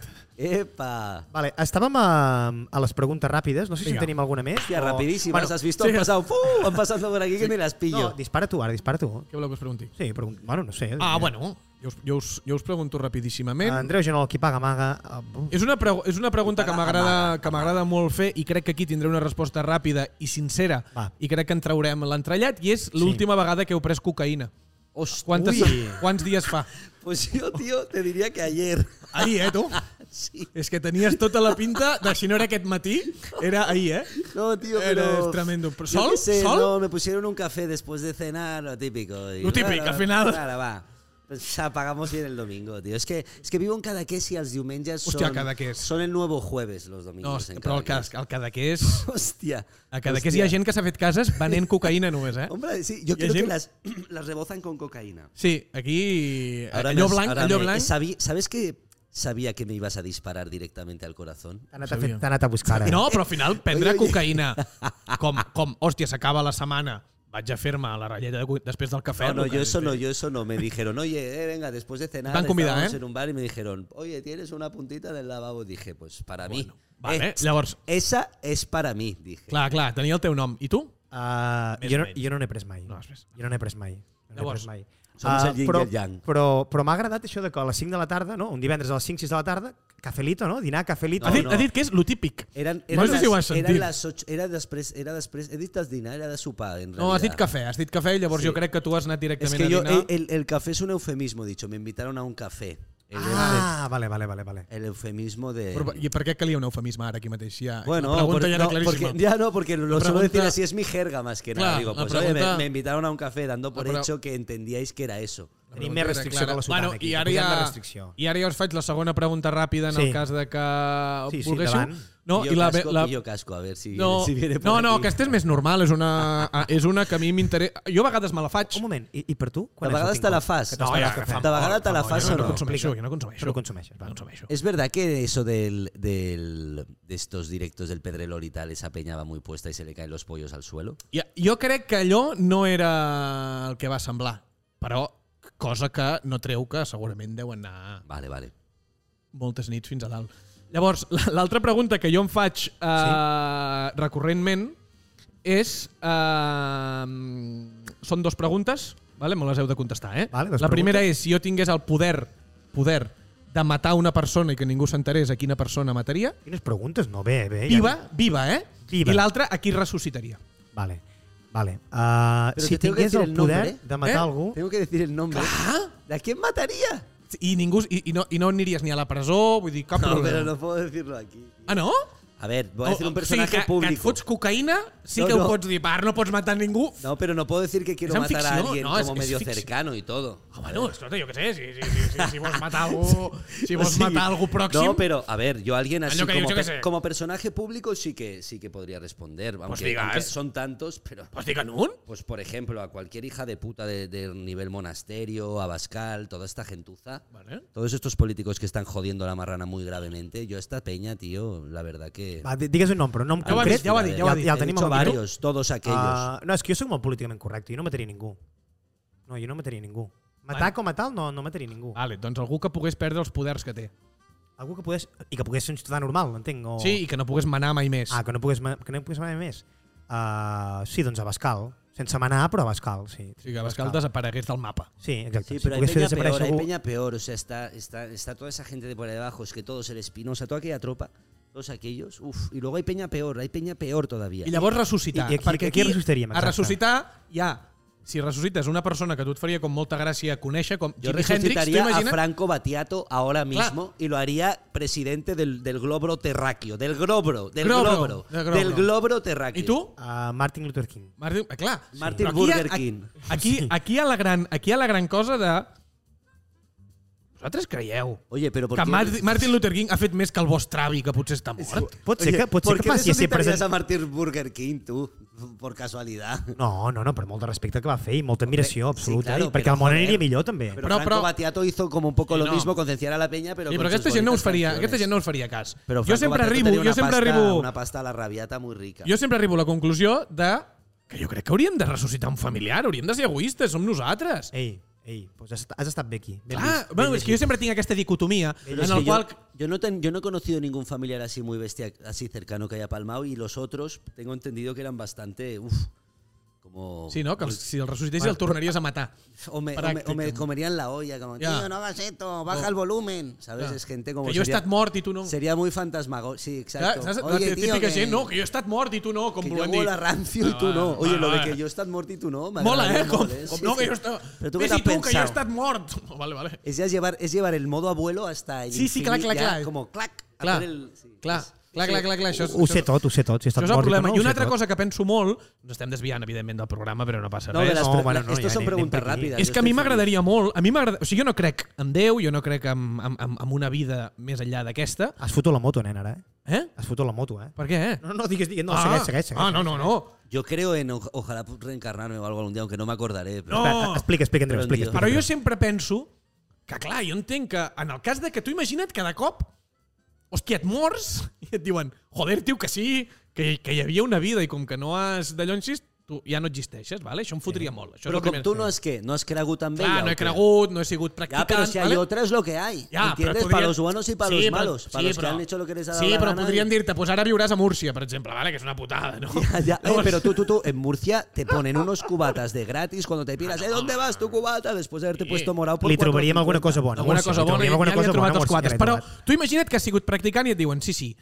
Epa!
Vale, estàvem a, a les preguntes ràpides. No sé si
Vinga.
en tenim alguna més.
Oh.
Hòstia,
o-
rapidíssimes,
Bueno,
has vist? Han passat, uh, han passat per aquí que ni les
no,
pillo.
dispara tu, ara, dispara tu.
Què voleu que us pregunti?
Sí, però, bueno, no sé.
Ah, bueno, jo us, jo us, jo us pregunto rapidíssimament.
Andreu Genol, qui paga maga... Ah, bu-
És una, pregu- és una pregunta que
Amaga,
m'agrada que m'agrada molt fer i crec que aquí tindré una resposta ràpida i sincera
Va.
i crec que en traurem l'entrellat i és l'última vegada que heu pres cocaïna.
Hòstia,
Quantes,
ui.
quants dies fa?
Pues yo, tío, te diría que ayer.
Ahir, eh, tu?
Sí.
És que tenies tota la pinta de si no era aquest matí, era ahir, eh?
No, tío,
Eres
pero...
tremendo. Pero
Yo
¿sol?
qué sé,
¿sol?
No, me pusieron un café después de cenar, lo típico. y
Lo típico,
claro,
al final.
Claro, va. Pues apagamos bien el domingo, tío. Es que, es que vivo en Cadaqués y los diumenges son,
Hostia, Cadaqués.
son el nuevo jueves los
No,
domingos. en
però el, cas,
Cadaqués.
el Cadaqués...
Hostia.
A Cadaqués hi ha
hostia.
gent que s'ha fet cases venent cocaïna només, eh?
Hombre, sí, yo
Hi ha
creo que
gent-
las, las rebozan con cocaína.
Sí, aquí...
Ahora me
allò
has-
Eh, blanc,
ahora
allò
me-
blanc...
sabí- ¿Sabes que sabía que me ibas a disparar directamente al corazón?
T'ha anat, a fer- t'ha anat a buscar ara.
No, però al final prendre
Oi, oi.
cocaïna com, com hòstia, s'acaba la setmana, vaig a fer-me la ratlleta de, cu- després del cafè.
No, no,
el que
yo eso
dic.
no, yo eso no. Me dijeron, oye, eh, venga, después de cenar,
Te han convidado,
estábamos
¿eh?
en un bar y me dijeron, oye, tienes una puntita del lavabo. Dije, pues para mí.
Vale,
Eh,
llavors,
Esa es para mí, dije.
clar, clar, tenia el teu nom. I tu?
Uh,
Més
jo, no,
menys.
jo no n'he pres mai.
No has pres.
Jo no n'he pres mai. No n'he
Llavors,
pres mai.
Somos
Ah,
el yin i
però,
el yang.
però, però m'ha agradat això de que a les 5 de la tarda, no? un divendres a les 5-6 de la tarda, cafelito, no? dinar, cafelito.
No, ha, dit,
no.
no. ha dit que és lo típic.
Eran,
No
eran
sé si ho has
las, eran
sentit.
las ocho, era después, era después, he dicho dinar, era de sopar, en
No, has dit
realidad.
cafè, has dit cafè i llavors
Sí.
jo crec que tu has anat
Es
directament
que
a
yo,
dinar.
el, el- el café es un eufemismo, dicho, me invitaron a un café. El,
ah, vale, vale, vale. vale.
el eufemismo de...
Però, I per què calia un eufemisme ara aquí mateix? Ja,
Bueno,
la pregunta
por-
ja era
no,
claríssima.
porque, ya no, porque lo suelo
pregunta-
decir así, es mi jerga más que nada.
Claro,
Digo,
la
pues oye,
pregunta-
me, me invitaron a un café dando por
La pre-
hecho que entendíais que era eso.
La
Tenim
pregunta
més
era
restricció
clara.
que la sotana aquí.
I ara,
Posem la
ja,
restricció.
I ara ja us faig la segona pregunta ràpida en
Sí.
el cas de que
Sí, sí,
volguéssiu.
endavant.
No,
Pillo
i la,
casco,
la,
pillo casco, a ver si,
No,
si viene por
no, no
aquí.
aquesta és més normal, és una, ah, és una que a mi m'interessa. Jo a vegades me la faig.
Un moment, i, i per tu?
De
és el
vegades
últim
te la
cop
fas.
que
No,
t'estàs
ja,
agafant?
fa- de vegades te la
no,
fas
jo
o no?
consumeixo,
Explica.
jo no consumeixo.
Però consumeixes, va.
No consumeixo.
Es verdad que eso del, del, de estos directos del Pedrelor y tal, esa peña va muy puesta y se le caen los pollos al suelo.
Ja, jo crec que allò no era el que va semblar, però cosa que no treu que segurament deu anar
Vale, vale.
moltes nits fins a dalt. Llavors, l- l'altra pregunta que jo em faig eh, sí? recurrentment és... Eh, són dues preguntes, vale? me les heu de contestar. Eh?
Vale,
la
doncs
dues
primera és, si jo tingués el poder poder de matar una persona i que ningú s'enterés a quina persona mataria,
Quines preguntes? No, bé, bé. ja-
viva, viva, eh?
Viva.
I l'altra, a qui ressuscitaria.
Vale, vale. Uh,
Però
si
te tengo que
tingués
decir
el
el
poder
nombre, eh?
de matar
Eh?
algú...
Tengo que decir el nombre. ¿Ah? ¿De a quién mataría?
I, ningú, i, i, no, i no aniries ni a la presó, vull dir, cap
No,
problema.
pero no puedo decirlo aquí.
Ah, no?
A ver, voy a decir
O- o-
un personaje
o sigui, que, que et
público.
fots cocaïna, sí
No,
que
no.
ho pots dir, "Va, ara no pots matar ningú,
No, pero no puedo decir que quiero
en
matar a
ficción,
alguien
no, es-
como
es
medio
ficción.
cercano y todo.
Ah, bueno, escolta, jo què sé, si, si, si, si, si vols matar algú, si vols
Sí.
matar algú pròxim,
No, pero a ver, yo a alguien así
Yo que- yo
como,
que
pe-
sé. Pues
como personaje público sí que sí que podría responder, aunque,
digas.
aunque son tantos, pero
pues digue'n un.
pues por ejemplo a cualquier hija de puta de- del nivel monasterio, Abascal, toda esta gentuza,
Vale.
todos estos políticos que están jodiendo la marrana muy gravemente, yo a esta peña, tío, la verdad que sí.
Va, di- digues un nom, però un nom
Ja ho ha dit,
concret.
ja ho ha dit, ja ho ha dit.
Ja el
He
tenim
dicho
al micro.
varios, todos aquellos.
Ah, no, és que jo sóc molt políticament correcte, jo no mataria ningú. No, jo no mataria ningú. Matar com a tal, no, no mataria ningú.
Vale, doncs algú que pogués perdre els poders que té.
Algú que pogués... I que pogués ser un ciutadà normal, entenc. O...
Sí, i que no pogués manar mai més.
Oh. Ah, que no pogués, ma- que no pogués manar més. Uh, sí, doncs Abascal. Sense manar, però Abascal, sí.
O sigui, que Abascal desaparegués del mapa.
Sí, exacte.
Sí,
si
pero este hay
pogués fer
peña
desaparèixer
peor, hay
algú-
peña peor. O sea, está, está, está toda esa gente de por ahí debajo, es que todos el Espinosa, toda aquella tropa, todos aquellos. Uf, y luego hay peña peor, hay peña peor todavía.
I llavors ressuscitar.
I- i aquí-
perquè
aquí ressuscitaríem,
A
exacte.
ressuscitar, ja, si ressuscites una persona que a tu et faria com molta gràcia conèixer, com
Yo
Jimi Hendrix,
resucitaría a
t'imagines?
Franco Batiato ahora
Claro.
mismo y lo haría presidente del, del globro terráqueo, del globro, del
Globro,
globro,
del globro.
del globro terráqueo.
I tu?
Uh, Martin Luther King.
Martin, eh, clar.
Martin
Però aquí hi ha-
Burger King.
Aquí, aquí, hi ha la gran, aquí hi ha la gran cosa de... Vosaltres creieu
Oye, pero ¿por
que
qué-
Marti- Martin Luther King ha fet més que el vostre avi, que potser està mort?
Pot ser
Oye,
que, pot ser
¿por
que
qué
passi a ser
resucitarías
president...
a Martin Burger King, tú, por casualidad.
No, no, no, per molt de respecte que va fer i molta admiració
sí,
oh, absoluta.
claro,
i perquè
però,
el món
joder,
aniria millor, també.
Pero
Però-
Franco
però-
Batiato hizo como un poco
Sí,
lo
no.
mismo, concienciar a la peña, pero
Sí,
con
però
sus
aquesta gent, no us
bonitas
faria, aquesta
canciones.
gent no us faria cas.
Pero
jo
Franco
sempre
Batiato
arribo,
tenía
jo
una
sempre
pasta-
arribo,
Una pasta a la rabiata muy rica.
jo sempre arribo a la conclusió de que jo crec que hauríem de ressuscitar un familiar, hauríem de ser egoistes, som nosaltres.
Eh,
Ei, ei, doncs has, has estat bé aquí. Ben
Ah,
vist.
bueno, és que jo sempre tinc aquesta dicotomia
Pero
en
es
el
que
qual...
yo, yo no ten- yo no he conocido ningún familiar así muy bestia, así cercano que haya palmado y los otros tengo entendido que eran bastante, uf, como...
Sí, no? Que els- si el ressuscitessis el tornaries a matar.
O me, o me-
Práctica.
o me comerían la olla, como,
Ya.
tío, no hagas esto, baja
O-
el volumen. ¿Sabes?
Ya.
Es gente como...
Que jo he
sería-
estat mort i tu no.
Sería muy fantasmagórico. Sí,
Clar,
exacto.
saps? La
Oye, tío,
típica
que,
gent, no, que jo he estat mort i tu no, com
que yo
volem
huelo
dir.
a rancio y
Ah,
tú no.
va,
Oye,
va,
lo de
va.
que yo he estat mort y tú no. me
Mola,
agrada
eh? Com,
molt,
com
Sí,
no, que
sí.
jo he estat...
Pero tú qué
Ves
t'has
i tu, que jo he
pensado?
estat mort. Vale, vale.
Es ya llevar, es llevar el modo abuelo hasta el
Sí, sí, clar,
infinit,
clar,
ya
clar.
Como clac. a
Clar,
por el- sí,
clar,
es-
clar, clar, clar, clar, això és...
Ho sé
això és-
tot, ho sé tot. Si he estat
Això és el
mort i tot,
problema.
no,
I
ho sé
una altra
tot.
cosa que penso molt, ens estem desviant, evidentment, del programa, però no passa
No,
res.
de las
No,
pre-
bueno,
la-
no,
estos
ja
son
anem- anem
preguntas
per aquí.
rápidas.
És
yo
que a
estoy
mi
feliz.
m'agradaria molt, a mi m'agrada... O sigui, jo no crec en Déu, jo no crec en, en, en, en una vida més enllà d'aquesta.
Has fotut la moto, nen, ara, eh?
Eh?
Has fotut la moto, eh?
Per què?
No, no, digues, digues, no, ah, segueix, segueix, segueix.
Ah, no, no, no.
Yo creo en o- ojalá reencarnarme o algo algún día, aunque no me acordaré. Pero
No.
Espera, Explica, explica, Andreu,
Però,
explica.
tio.
explica
Però jo sempre penso que, clar, jo entenc que en el cas de que tu imagina't que de cop, hòstia, et mors i et diuen, joder, tio, que sí, que, que hi havia una vida i com que no has d'allò insist, tu ja no existeixes, vale? això em fotria molt. Això
Pero
és el
como
primer.
tú no es que, no has creado tan
Clar,
bella.
no he cregut, no he sigut
Ya,
practicant.
pero si hay
vale?
otra es lo que hay.
Ja, però
¿Entiendes?
podrien-
Para los buenos y para
Sí,
los
però-
malos. Para
sí,
los que
però-
han hecho lo que les ha dado
Sí,
la
però
gana y-
podrien dir-te, pues ara viuràs a Múrcia, per exemple, vale? que és una putada, no?
Ya, ya. Eh,
Llavors-
pero tú, tú, tú, en Murcia te ponen unos cubatas de gratis cuando te piras. ¿Eh, ¿Dónde vas tu cubata? Después de haberte
Sí.
puesto morado por
Li trobaríem
4,50.
alguna cosa bona.
alguna
Múrcia,
cosa
li
bona,
trobaríem
ja,
alguna
ja li
cosa
he trobat
bona, Múrcia,
els
ja
quadres.
l'he
Però
trobat.
tu imagina't que has sigut practicant i et diuen, sí, sí,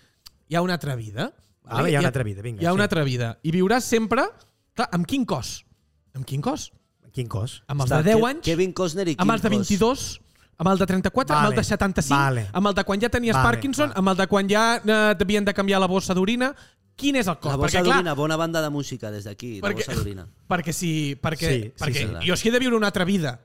hi ha una altra vida.
Vale, Ah, hi ha una altra vida, vinga,
Hi ha
sí.
una altra vida. I viuràs sempre... Clar, amb quin cos? Amb quin cos?
Quin cos?
Amb els
Està
de 10
Ke-
anys?
Kevin Costner i
Amb els de
Kim Cos.
22? Amb el de 34, amb el de
Vale,
75,
vale.
amb el de quan ja tenies
Vale,
Parkinson,
vale.
amb el de quan ja eh, t'havien de canviar la bossa d'orina. Quin és el cos?
La
Perquè,
bossa
clar,
d'orina, bona banda de música des d'aquí, la
perquè,
bossa d'orina.
perquè si... Perquè,
Sí, sí,
perquè
serà.
jo si he de viure una altra vida,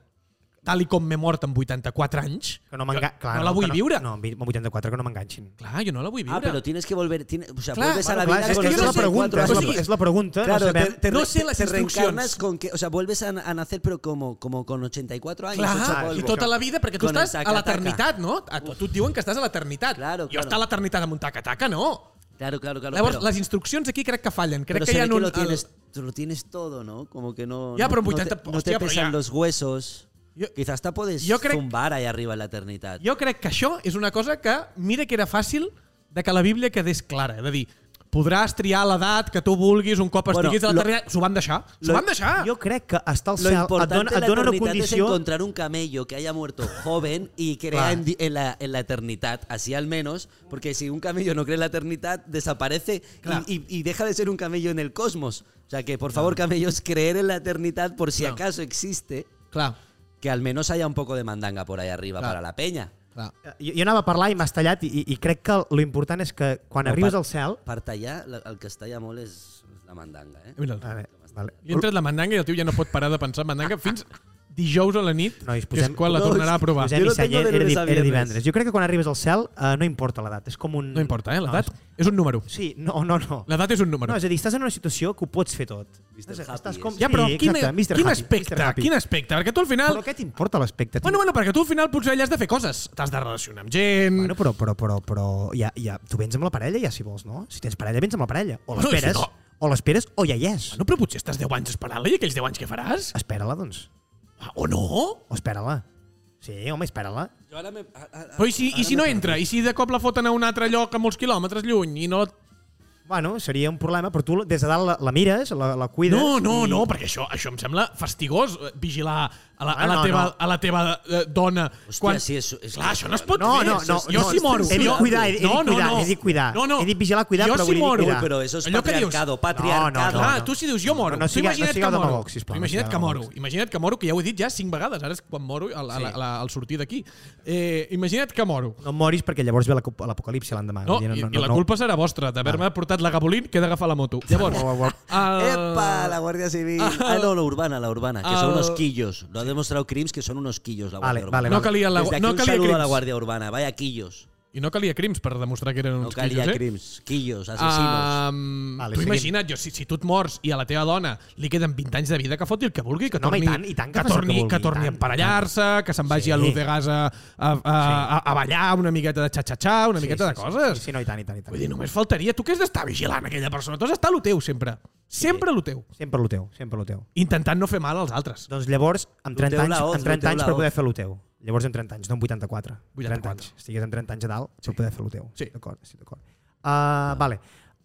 tal i com m'he mort amb 84 anys,
Que no m'enga...
jo
Clar,
no la vull
que
viure.
No, amb 84, que no m'enganxin.
Clar, jo no la vull viure.
Ah, però tienes que volver... tiene- o sea,
Clar,
vuelves a la
Clar,
vida...
és
con
que és la
84
pregunta, és
años.
la, és la pregunta, no
Claro,
sabem...
te, te
No
re-
sé las
te
instrucciones.
reencarnas con que, o sea, vuelves a, a nacer pero como, como con 84 años. hecho
Clar,
polvo.
i tota la vida, perquè tu
Con el
estàs a
taca-taca.
l'eternitat, no? A tu, a tu et diuen que estàs a l'eternitat.
Claro,
Jo
claro.
estar a l'eternitat amb un taca-taca, no.
Claro, claro, claro.
Llavors,
pero-
les instruccions aquí crec que fallen. Crec
pero
que
se
hi ha
ve que
un...
lo tienes, lo tienes todo, ¿no? Como que no.
Ya,
no-
pero
no, te,
80,
no te
hostia, pero
pesan
ya.
los huesos.
Yo-
Quizás te puedes
yo creo-
zumbar ahí arriba en la eternidad.
el, jo crec que això és una cosa que, mira que era fàcil de que la Bíblia quedés clara. De dir, podràs triar l'edat que tu vulguis un cop
Bueno,
estiguis a
lo-
l'eternitat. S'ho van deixar. S'ho
lo-
van deixar.
Jo crec que estar al
Lo
cel et
importante
dona,
de
et
la
dona una
eternidad es
condició...
encontrar un camello que haya muerto joven y crea en, di- en la, en la eternidad, así al menos, porque si un camello no cree en la eternidad, desaparece y-
Claro.
y, y deja de ser un camello en el cosmos. O sea que, por favor, camellos, creer en la eternidad por si
Claro.
acaso existe,
Clar,
que al menos haya un poco de mandanga por ahí arriba
Claro.
para la peña.
clar.
Jo, jo anava a parlar i m'has tallat i, i, i crec que lo important és que quan
No,
arribes al
part-
cel...
Parte allá, la- al que está ya mole es es la mandanga, ¿eh?
Mira'l.
A veure, vale.
Jo he entrat la mandanga i el tio ja no pot parar de pensar en mandanga fins dijous a la nit,
Nois,
que és
posem-
quan la
No,
tornarà a provar.
Josep
Jo no
Icell,
tengo de
era,
lunes
di-
a
era
viernes.
divendres. Jo crec que quan arribes al cel eh, no importa l'edat, és com un...
No importa, eh? L'edat
No, és-
és un número.
sí, no, no, no.
L'edat és un número.
No, és a dir, estàs en una situació que ho pots fer tot. Estàs,
Happy,
estàs com...
és.
Ja, però
sí,
quin,
exacte, Mr.
quin
Happy,
aspecte?
Mr. Happy.
Quin aspecte? Perquè tu al final...
Però què t'importa l'aspecte? tio?
Ah. Bueno, bueno, perquè tu al final potser allà has de fer coses. T'has de relacionar amb gent...
Bueno, però, però, però, però ja, ja, tu vens amb la parella ja, si vols, no? Si tens parella, vens amb la parella. O
No, i si
l'esperes,
no?
o l'esperes, o ja hi és.
Bueno, però potser estàs 10 anys esperant-la i aquells 10 anys què faràs?
Espera-la, doncs.
Ah, O no?
O espera-la. Sí, home, espera-la.
Jo ara me... a- a-
Però i Pues si, i
ara
si no
me-
entra? I si de cop la foten a un altre lloc a molts quilòmetres lluny i no...
Bueno, seria un problema, però tu des de dalt la, la mires, la, la cuides...
No, no,
i-
no, perquè això, això em sembla fastigós, eh, vigilar a la, a la,
Ah, no,
teva,
no.
a la teva eh, dona.
Hòstia, sí, és- és-
Clar, això Ah, no es pot
No,
fer.
no,
això
no,
és- jo
no,
si moro.
he dit
jo-
cuidar, he dit cuidar, he dit cuidar.
No, no.
He dit vigilar, cuidar,
jo
però
si
vull dir
moro.
cuidar.
Ui, però eso es
Allò que dius,
patriarcado, patriarcado.
No, no,
Clar,
no.
tu si dius jo moro,
No, no
no,
siga-
tu imagina't
no siga
que moro.
demagog, sisplau, no
imagina't
siga
que moro,
demagog.
imagina't que moro, que ja ho he dit ja cinc vegades, ara és quan moro al, al, al, al sortir d'aquí. Eh, imagina't que moro.
No moris perquè llavors ve la cu- l'apocalipsi l'endemà.
No,
Vull dir,
i, i la culpa serà vostra d'haver-me portat la gabolín que he d'agafar la moto. Llavors,
Guau, guau.
el...
Ah, ¡Epa! La Guardia Civil. Ah, no, la urbana, la urbana, que
al-
son unos quillos. Lo ha demostrado Crims que son unos quillos la
Vale,
Guardia
vale,
Urbana.
No calia, la,
Desde aquí
no
un
calia
saludo a la
crims.
Guardia Urbana. Vaya quillos.
I no calia crims per demostrar que eren
No
uns
calia
quillos, eh?
Crims. Quillos, asesinos.
Vale,
Um, vale, tu
seguim.
imagina't, jo, si, si tu et mors i a la teva dona li queden 20 anys de vida, que foti el que vulgui, que
No, home,
torni,
i tant, i tant que
que,
faci el que
torni,
vulgui,
que torni
i
a
tant,
emparellar-se, que se'n vagi
Sí.
a l'U de Gas a, a, a, a, a ballar una miqueta de xa-xa-xa, una miqueta de coses.
tota Sí, sí, no, i tant, i tant. I tant.
Vull dir, només faltaria. Tu que has d'estar vigilant aquella persona? Tu has d'estar a lo teu, sempre. Sempre a lo teu.
Sempre lo teu, sempre lo teu.
Intentant no fer mal als altres.
Doncs llavors, amb
Lo
30
teu
anys,
la hoz,
amb 30
lo teu
anys
la
per
hoz.
poder fer lo teu. Llavors amb 30 anys, no amb 84. 30
84.
anys. Estigues amb 30 anys a dalt per poder fer lo teu.
Sí.
D'acord, sí, d'acord. Uh, vale.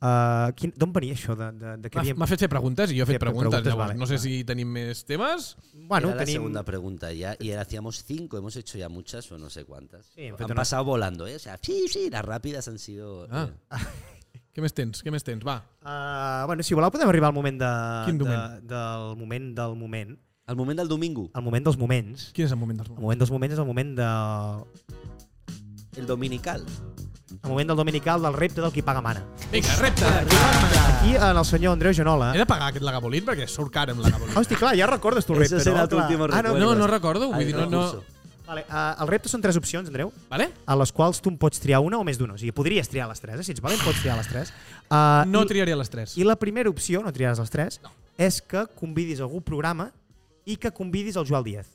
Uh, quin, d'on venia això? De, de, de que
M'ha
havíem...
m'ha fet fer preguntes i jo he
Fer
fet preguntes.
preguntes,
llavors,
vale,
no sé
vale.
si tenim més temes.
Bueno,
Era la
tenim...
segunda pregunta ya. Y ahora hacíamos cinco. Hemos hecho ya muchas o no sé cuántas.
Sí,
han
pero no-
pasado volando, ¿eh? O sea, sí, sí, las rápidas han sido.
Ah.
eh,
Què més tens? Què més tens? Va.
Uh, bueno, si voleu podem arribar al moment de,
Quin
de,
moment?
del moment del moment.
Al momento del domingo.
El moment dels moments.
Quin és el moment dels
El moment dels moments és el moment de...
El dominical.
El moment del dominical del repte del qui paga mana.
Vinga, repte.
Aquí en el senyor Andreu Genola...
He de pagar aquest lagabolín perquè surt car amb lagabolín.
Hosti, clar, ja recordes tu el
Ese
repte,
será
no?
tu
Clar.
último
Ah, no,
recuerdo.
no, no recuerdo, vull
Al
dir, no, no.
concurso.
Vale, uh, el repte són tres opcions, Andreu,
Vale?
a les quals tu en pots triar una o més d'una. O sigui, podries triar les tres, eh? si ets valent pots triar les tres. Uh,
No
i,
triaria les tres.
I la primera opció, no triaràs les tres, no. és que convidis algú programa i que convidis el Joel Díaz.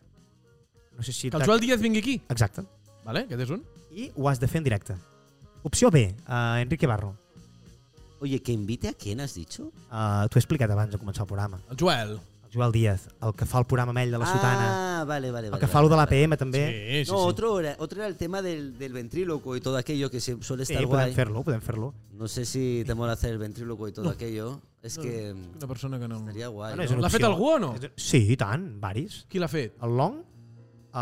No sé si...
Que el
t'ha-
Joel Díaz vingui aquí.
Exacte.
Vale? Aquest és un.
I ho has de fer en directe. Opció B, uh, Enrique Barro.
Oye, ¿que invite a quién has dicho?
Uh, T'ho he explicat abans de començar el programa.
El Joel.
El Joel Díaz, el que fa el programa amb ell de la Sotana,
Ah, vale, vale.
el
vale,
que fa el de
vale,
l'APM també.
Sí, sí, sí.
Eh? No, otro era, otro era el tema del, del ventríloco y todo aquello que se suele
Sí,
estar guay.
podem fer-lo, podem fer-lo.
No sé si te mola hacer el ventríloco y todo aquello. Es que mm,
Una persona que no...
estaría guay.
Bueno, és
¿no?
una
L'ha fet
opció.
algú o no?
És un- Sí, i tant, varis.
Qui l'ha fet?
El long... eh, Uh,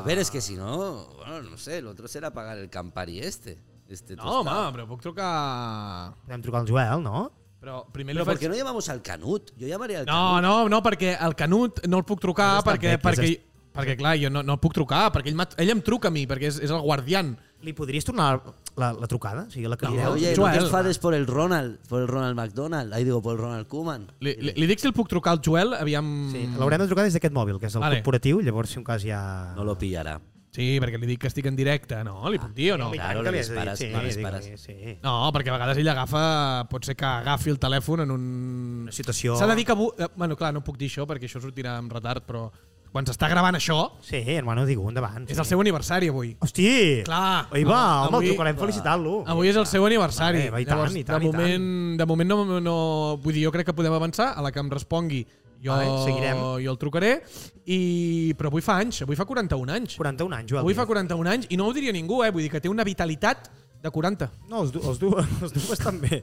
A ver, es que si no, bueno, no sé, el otro será pagar el Campari este. este
No, home,
tostado.
però puc trucar...
Podem trucar al Joel, no?
Però primer
Pero
li
¿por qué no
faig...
llamamos al Canut? Yo llamaría al
No, no, no, perquè el Canut no el puc trucar
Has estat
perquè...
bé, que has
perquè, perquè clar, jo no, no el puc trucar, perquè ell, m'ha- ell em truca a mi, perquè és, és el guardián.
Li podries tornar la, la, la trucada? O sigui, la que li
Canut.
deus?
Oye,
Joel.
no te enfades por el Ronald, por el Ronald McDonald. Ahí digo, por el Ronald Koeman.
Li, li, li dic si el puc trucar al Joel, aviam...
Sí, l'haurem de trucar des d'aquest mòbil, que és el
Vale.
corporatiu, llavors si un cas ja...
No lo pillará.
Sí, perquè li dic que estic en directe, no? Li puc dir o no?
I tant
Claro,
que li
li
has de dir,
dispares,
sí,
li
digue-li,
dispares.
sí.
No, perquè a vegades ell agafa... Pot ser que agafi el telèfon en un...
Una situació...
S'ha de dir que avui... eh, Bueno, clar, no puc dir això perquè això sortirà amb retard, però quan s'està gravant això,
Sí, hermano, digue-ho, endavant.
és el seu aniversari avui.
Hosti!
Clar.
Oi, va,
Ah,
home,
avui-
el trucarem felicitant-lo.
Avui és el seu aniversari.
Oh, Eh, va, i tant, i tant,
de
i tant.
moment, de moment no, no... Vull dir, jo crec que podem avançar a la que em respongui. Jo,
Vale, seguirem.
jo el trucaré. I, però avui fa anys, avui fa 41 anys.
41 anys, Joel.
Avui fa
Díaz.
41 anys i no ho diria ningú, eh? Vull dir que té una vitalitat de 40.
No, els, du els, du els du estan bé.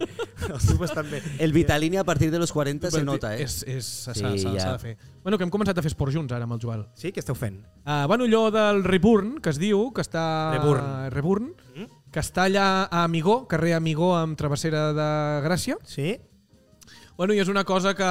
els du estan bé.
El Vitalini a partir de los 40 se nota, ¿eh?
És, és, s'ha
Sí,
s'ha- s'ha
ja.
de fer. Bueno, que hem començat a fer esport junts ara amb el Joel.
Sí, què esteu fent?
Uh, bueno, allò del Reburn, que es diu, que està...
Reburn.
Reburn,
Mhm.
que està allà a Amigó, carrer Amigó amb travessera de Gràcia.
Sí?
Bueno, i és una cosa que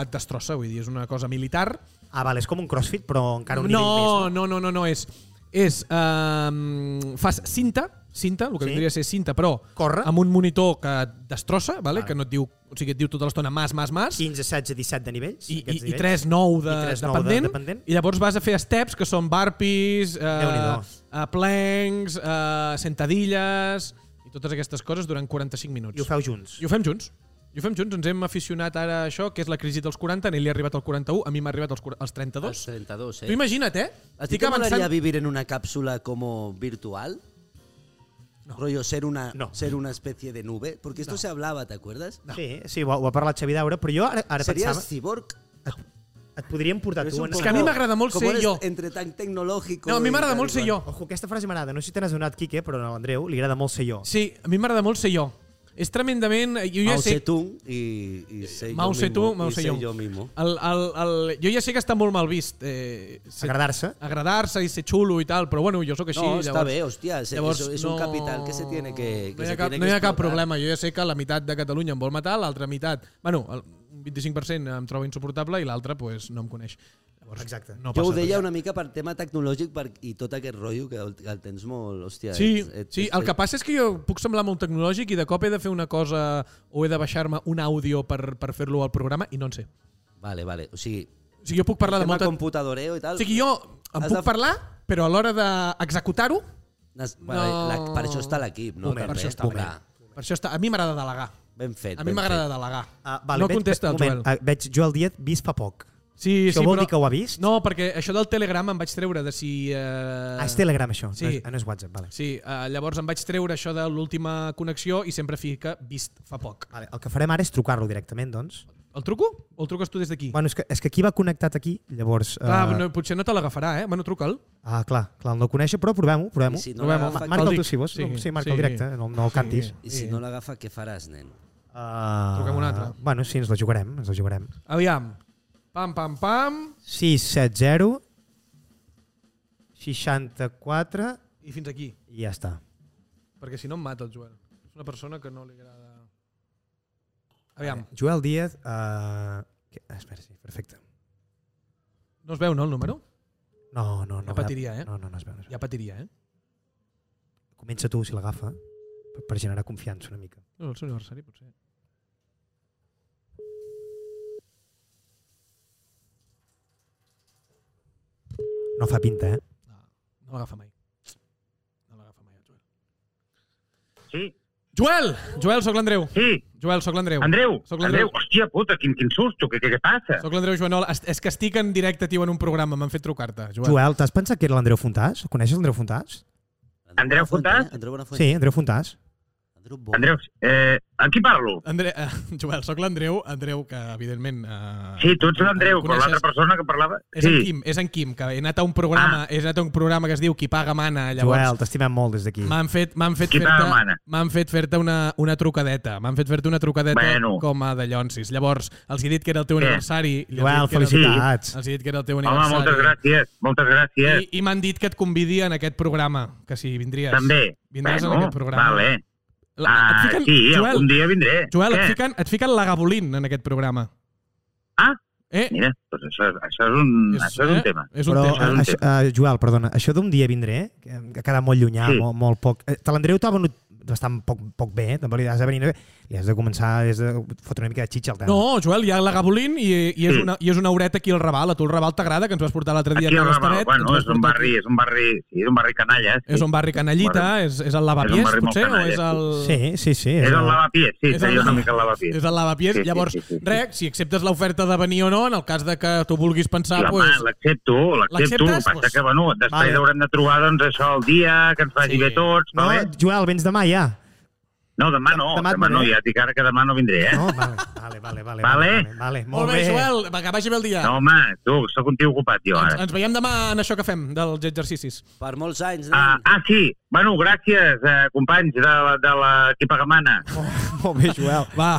et destrossa, vull dir, és una cosa militar.
Ah, vale, és com un crossfit, però encara un
no,
nivell més.
no, no, no, no, és... És, eh, fas cinta, cinta, el que
Sí.
sí. vindria a ser cinta, però
Corre.
amb un monitor que et destrossa, vale?
Vale.
que no et diu, o sigui, et diu tota l'estona mas, mas, mas, I,
15, 16, 17 de nivells.
i,
aquests
i
nivells.
3, 9 de,
I tres, nou de
dependent,
dependent.
i llavors vas a fer steps que són burpees, eh,
Déu-n'hi-do.
eh, planks, eh, sentadilles i totes aquestes coses durant 45 minuts.
I ho feu junts.
I ho fem junts. I ho fem junts. Ens hem aficionat ara a això, que és la crisi dels 40. A ell li ha arribat al 41, a mi m'ha arribat als, cua- als 32.
Los
Ah,
32,
Tu
eh.
imagina't, eh?
¿A ti te molaría vivir en una cápsula como virtual? Rollo, ser una,
No.
ser una especie de nube. Porque esto se hablaba, ¿te acuerdas?
Sí, sí, ho, ho ha parlat Xavi Daura, però jo ara, ara
Serías
pensava...
cyborg.
Et podríem portar
Pero es
tu...
un
En...
Es
poco-
que a mí me agrada molt
como
ser
eres
yo.
Entre tan tecnológico.
No, a mi
y
m'agrada
tal y
molt ser
cual.
jo.
Ojo, aquesta frase m'agrada. No sé si te n'has adonat, Quique, però a l'Andreu li agrada molt ser jo.
Sí, a mi m'agrada molt ser jo. És tremendament... eh, Jo ja
Mao
sé, Eh,
Zedong y, y
eh,
sé
Mao
yo
Zedong,
mismo,
Mao
y sé
Zedong.
yo mismo.
el, el, el, jo ja sé que està molt mal vist eh, ser-
Agradar-se.
agradar-se i ser xulo i tal, però bueno, jo sóc així.
no, está
llavors-
bien, hostia. Es,
Llavors,
es- es
no...
un capital que se tiene que. que
no hi
se
ha cap,
tiene
no
que
hi ha cap
explotar.
problema. Jo ja sé que la meitat de Catalunya em vol matar, l'altra meitat... Bueno, el 25% em troba insuportable i l'altra pues, no em coneix. Llavors,
Exacte.
No
Jo ho
passa
deia
res.
una mica per tema tecnològic per, i tot aquest rotllo tota que el, el tens molt... Hòstia,
Sí,
ets- ets-
sí,
ets-
el que passa és que jo puc semblar molt tecnològic i de cop he de fer una cosa o he de baixar-me un àudio per, per fer-lo al programa i no en sé.
Vale, vale. O sigui,
O sigui, jo puc parlar de
tema
molta...
computadoreo i tal...
O sigui, jo em
Has
puc
de-
parlar, però a l'hora d'executar-ho,
Nas- Vale,
No.
la, per això està l'equip, no?
Moment,
També,
per això està
clar.
per això està, a mi m'agrada delegar.
Ben fet,
A mi
ben
m'agrada
fet.
delegar.
Ah,
no contesta el
veig,
Joel.
moment, ah, veig Joel Díaz vist fa poc.
Sí,
Això
sí,
vol
però-
dir que ho ha vist?
No, perquè això del Telegram em vaig treure de si... Eh...
Ah, és Telegram, això.
Sí.
No, és, ah, no és WhatsApp, vale.
Sí, eh, llavors em vaig treure això de l'última connexió i sempre fica vist fa poc.
vale. El que farem ara és trucar-lo directament, doncs.
El truco? O el truques tu des d'aquí?
Bueno, és que, és que aquí va connectat aquí, llavors...
Clar,
eh,
no, potser no te l'agafarà, eh? Bueno, troca'l.
Ah, clar, clar, el no conèixer, però provem-ho, provem-ho.
I si
Sí,
no
provem
l'agafa-
marca
Cal
el tu,
dir-
si vols.
sí,
Sí, no, sí marca
sí.
el directe, no, no el cantis.
I si no l'agafa, què faràs, nen?
Uh,
Truquem un altre.
Bueno, sí, ens la jugarem, ens la jugarem.
Aviam. Pam, pam, pam.
670 64
I fins aquí.
i ja està.
Perquè si no em mata el Joel. És una persona que no li agrada... Aviam.
Eh, Joel Díaz... Uh, que, espera, sí, perfecte.
No es veu, no, el número?
No, no, no.
Ja patiria, eh?
No, no, no es veu. No es veu.
Ja patiria, eh?
Comença tu, si l'agafa, per, per generar confiança una mica.
No, el seu aniversari, potser.
No fa pinta, eh?
No, no l'agafa mai. No l'agafa mai, el Joel.
Sí,
Joel! Joel, sóc l'Andreu.
sí.
Joel, sóc l'Andreu.
Andreu,
Sóc l'Andreu.
Andreu, hòstia puta, quin, quin susto, què, què, què passa?
Soc l'Andreu Joanol. Es- És que estic en directe, tio, en un programa. M'han fet trucar-te, Joel.
Joel, t'has pensat que era l'Andreu Fontàs? Coneixes l'Andreu Fontàs?
Andreu
Buenafuente,
Fontàs?
eh? Andreu Buenafuente.
Sí, Andreu Fontàs.
Andreu, Bo-
Andreu, eh, amb qui parlo?
Andre... eh, Joel, sóc l'Andreu. Andreu, que evidentment... Eh,
Sí, tu ets l'Andreu,
em
però l'altra
coneixes.
persona que parlava...
És en
Sí,
Quim, és en Quim, que he anat a un programa, ah. he anat a un programa que es diu Qui paga mana, llavors
Joel, t'estimem molt des d'aquí.
m'han fet m'han fet
Qui paga
fer-te
mana.
m'han fet fer-te una una trucadeta, m'han fet fer-te una trucadeta
Bueno.
com a de llonsis. Llavors, els he dit que era el teu
Què?
aniversari, li he
Joel,
dit que era el-
felicitats.
Els he dit que era el teu
home,
aniversari.
moltes gràcies, moltes gràcies.
I, i m'han dit que et convidi en aquest programa, que si vindries.
També.
Vindràs en aquest programa.
Vale.
La-
Ah,
et fiquen,
sí,
Joel,
algun dia vindré.
Joel,
Què?
et fiquen, et fiquen la Gabolín en aquest programa.
Ah,
Eh?
mira, doncs això, això, és, un, això és un
eh?
tema.
És un
Però,
tema.
Ah, un
això, eh, Joel, perdona, això d'un dia vindré, eh, que ha quedat molt llunyà,
Sí.
sí. molt, molt poc. Eh, Te l'Andreu t'ha venut bastant poc, poc bé, eh? tampoc li has de venir... Li has de començar des de fotre una mica de xitxa al tema.
No, Joel, hi ha la Gabolín i, i, és
Sí.
una, i és una horeta aquí al Raval. A tu el Raval t'agrada, que ens vas portar l'altre dia.
Aquí
a
al Raval,
Tastavet, que ens
bueno,
vas
és un
portar
barri,
aquí.
és un barri, sí, és un barri canalla. Sí.
És un barri canallita, és, és el
És un
lavapiés,
barri molt
potser, o
canalla,
és el...
Sí, sí, sí.
És el lavapiés, sí,
És
seria
el-
una mica el lavapiés.
És el lavapiés.
Sí,
Sí,
sí,
Llavors,
sí, sí, sí.
rec, si acceptes l'oferta de venir o no, en el cas de que tu vulguis pensar...
Home,
Ah, pues,
l'accepto, l'accepto. El que
L'acceptes?
passa
Pues-
que, bueno, després
Vale.
haurem de trobar doncs, això el dia, que ens faci
Sí.
bé tots,
No,
vale?
Joel, vens demà ja.
No, demà no,
Demà
demà,
et
no,
vindré.
ja et dic ara que demà no vindré, eh?
No, vale, vale, vale. Vale,
Vale.
vale
Molt bé, Joel, va, que vagi bé el dia.
No, eh. home, tu, sóc un tio ocupat, jo,
ens,
ara.
ens veiem demà en això que fem, dels exercicis.
Per molts anys, nen.
Ah, ah, sí, bueno, gràcies, eh, companys de, la- de l'equip Agamana.
Molt, molt bé, Joel.
Va,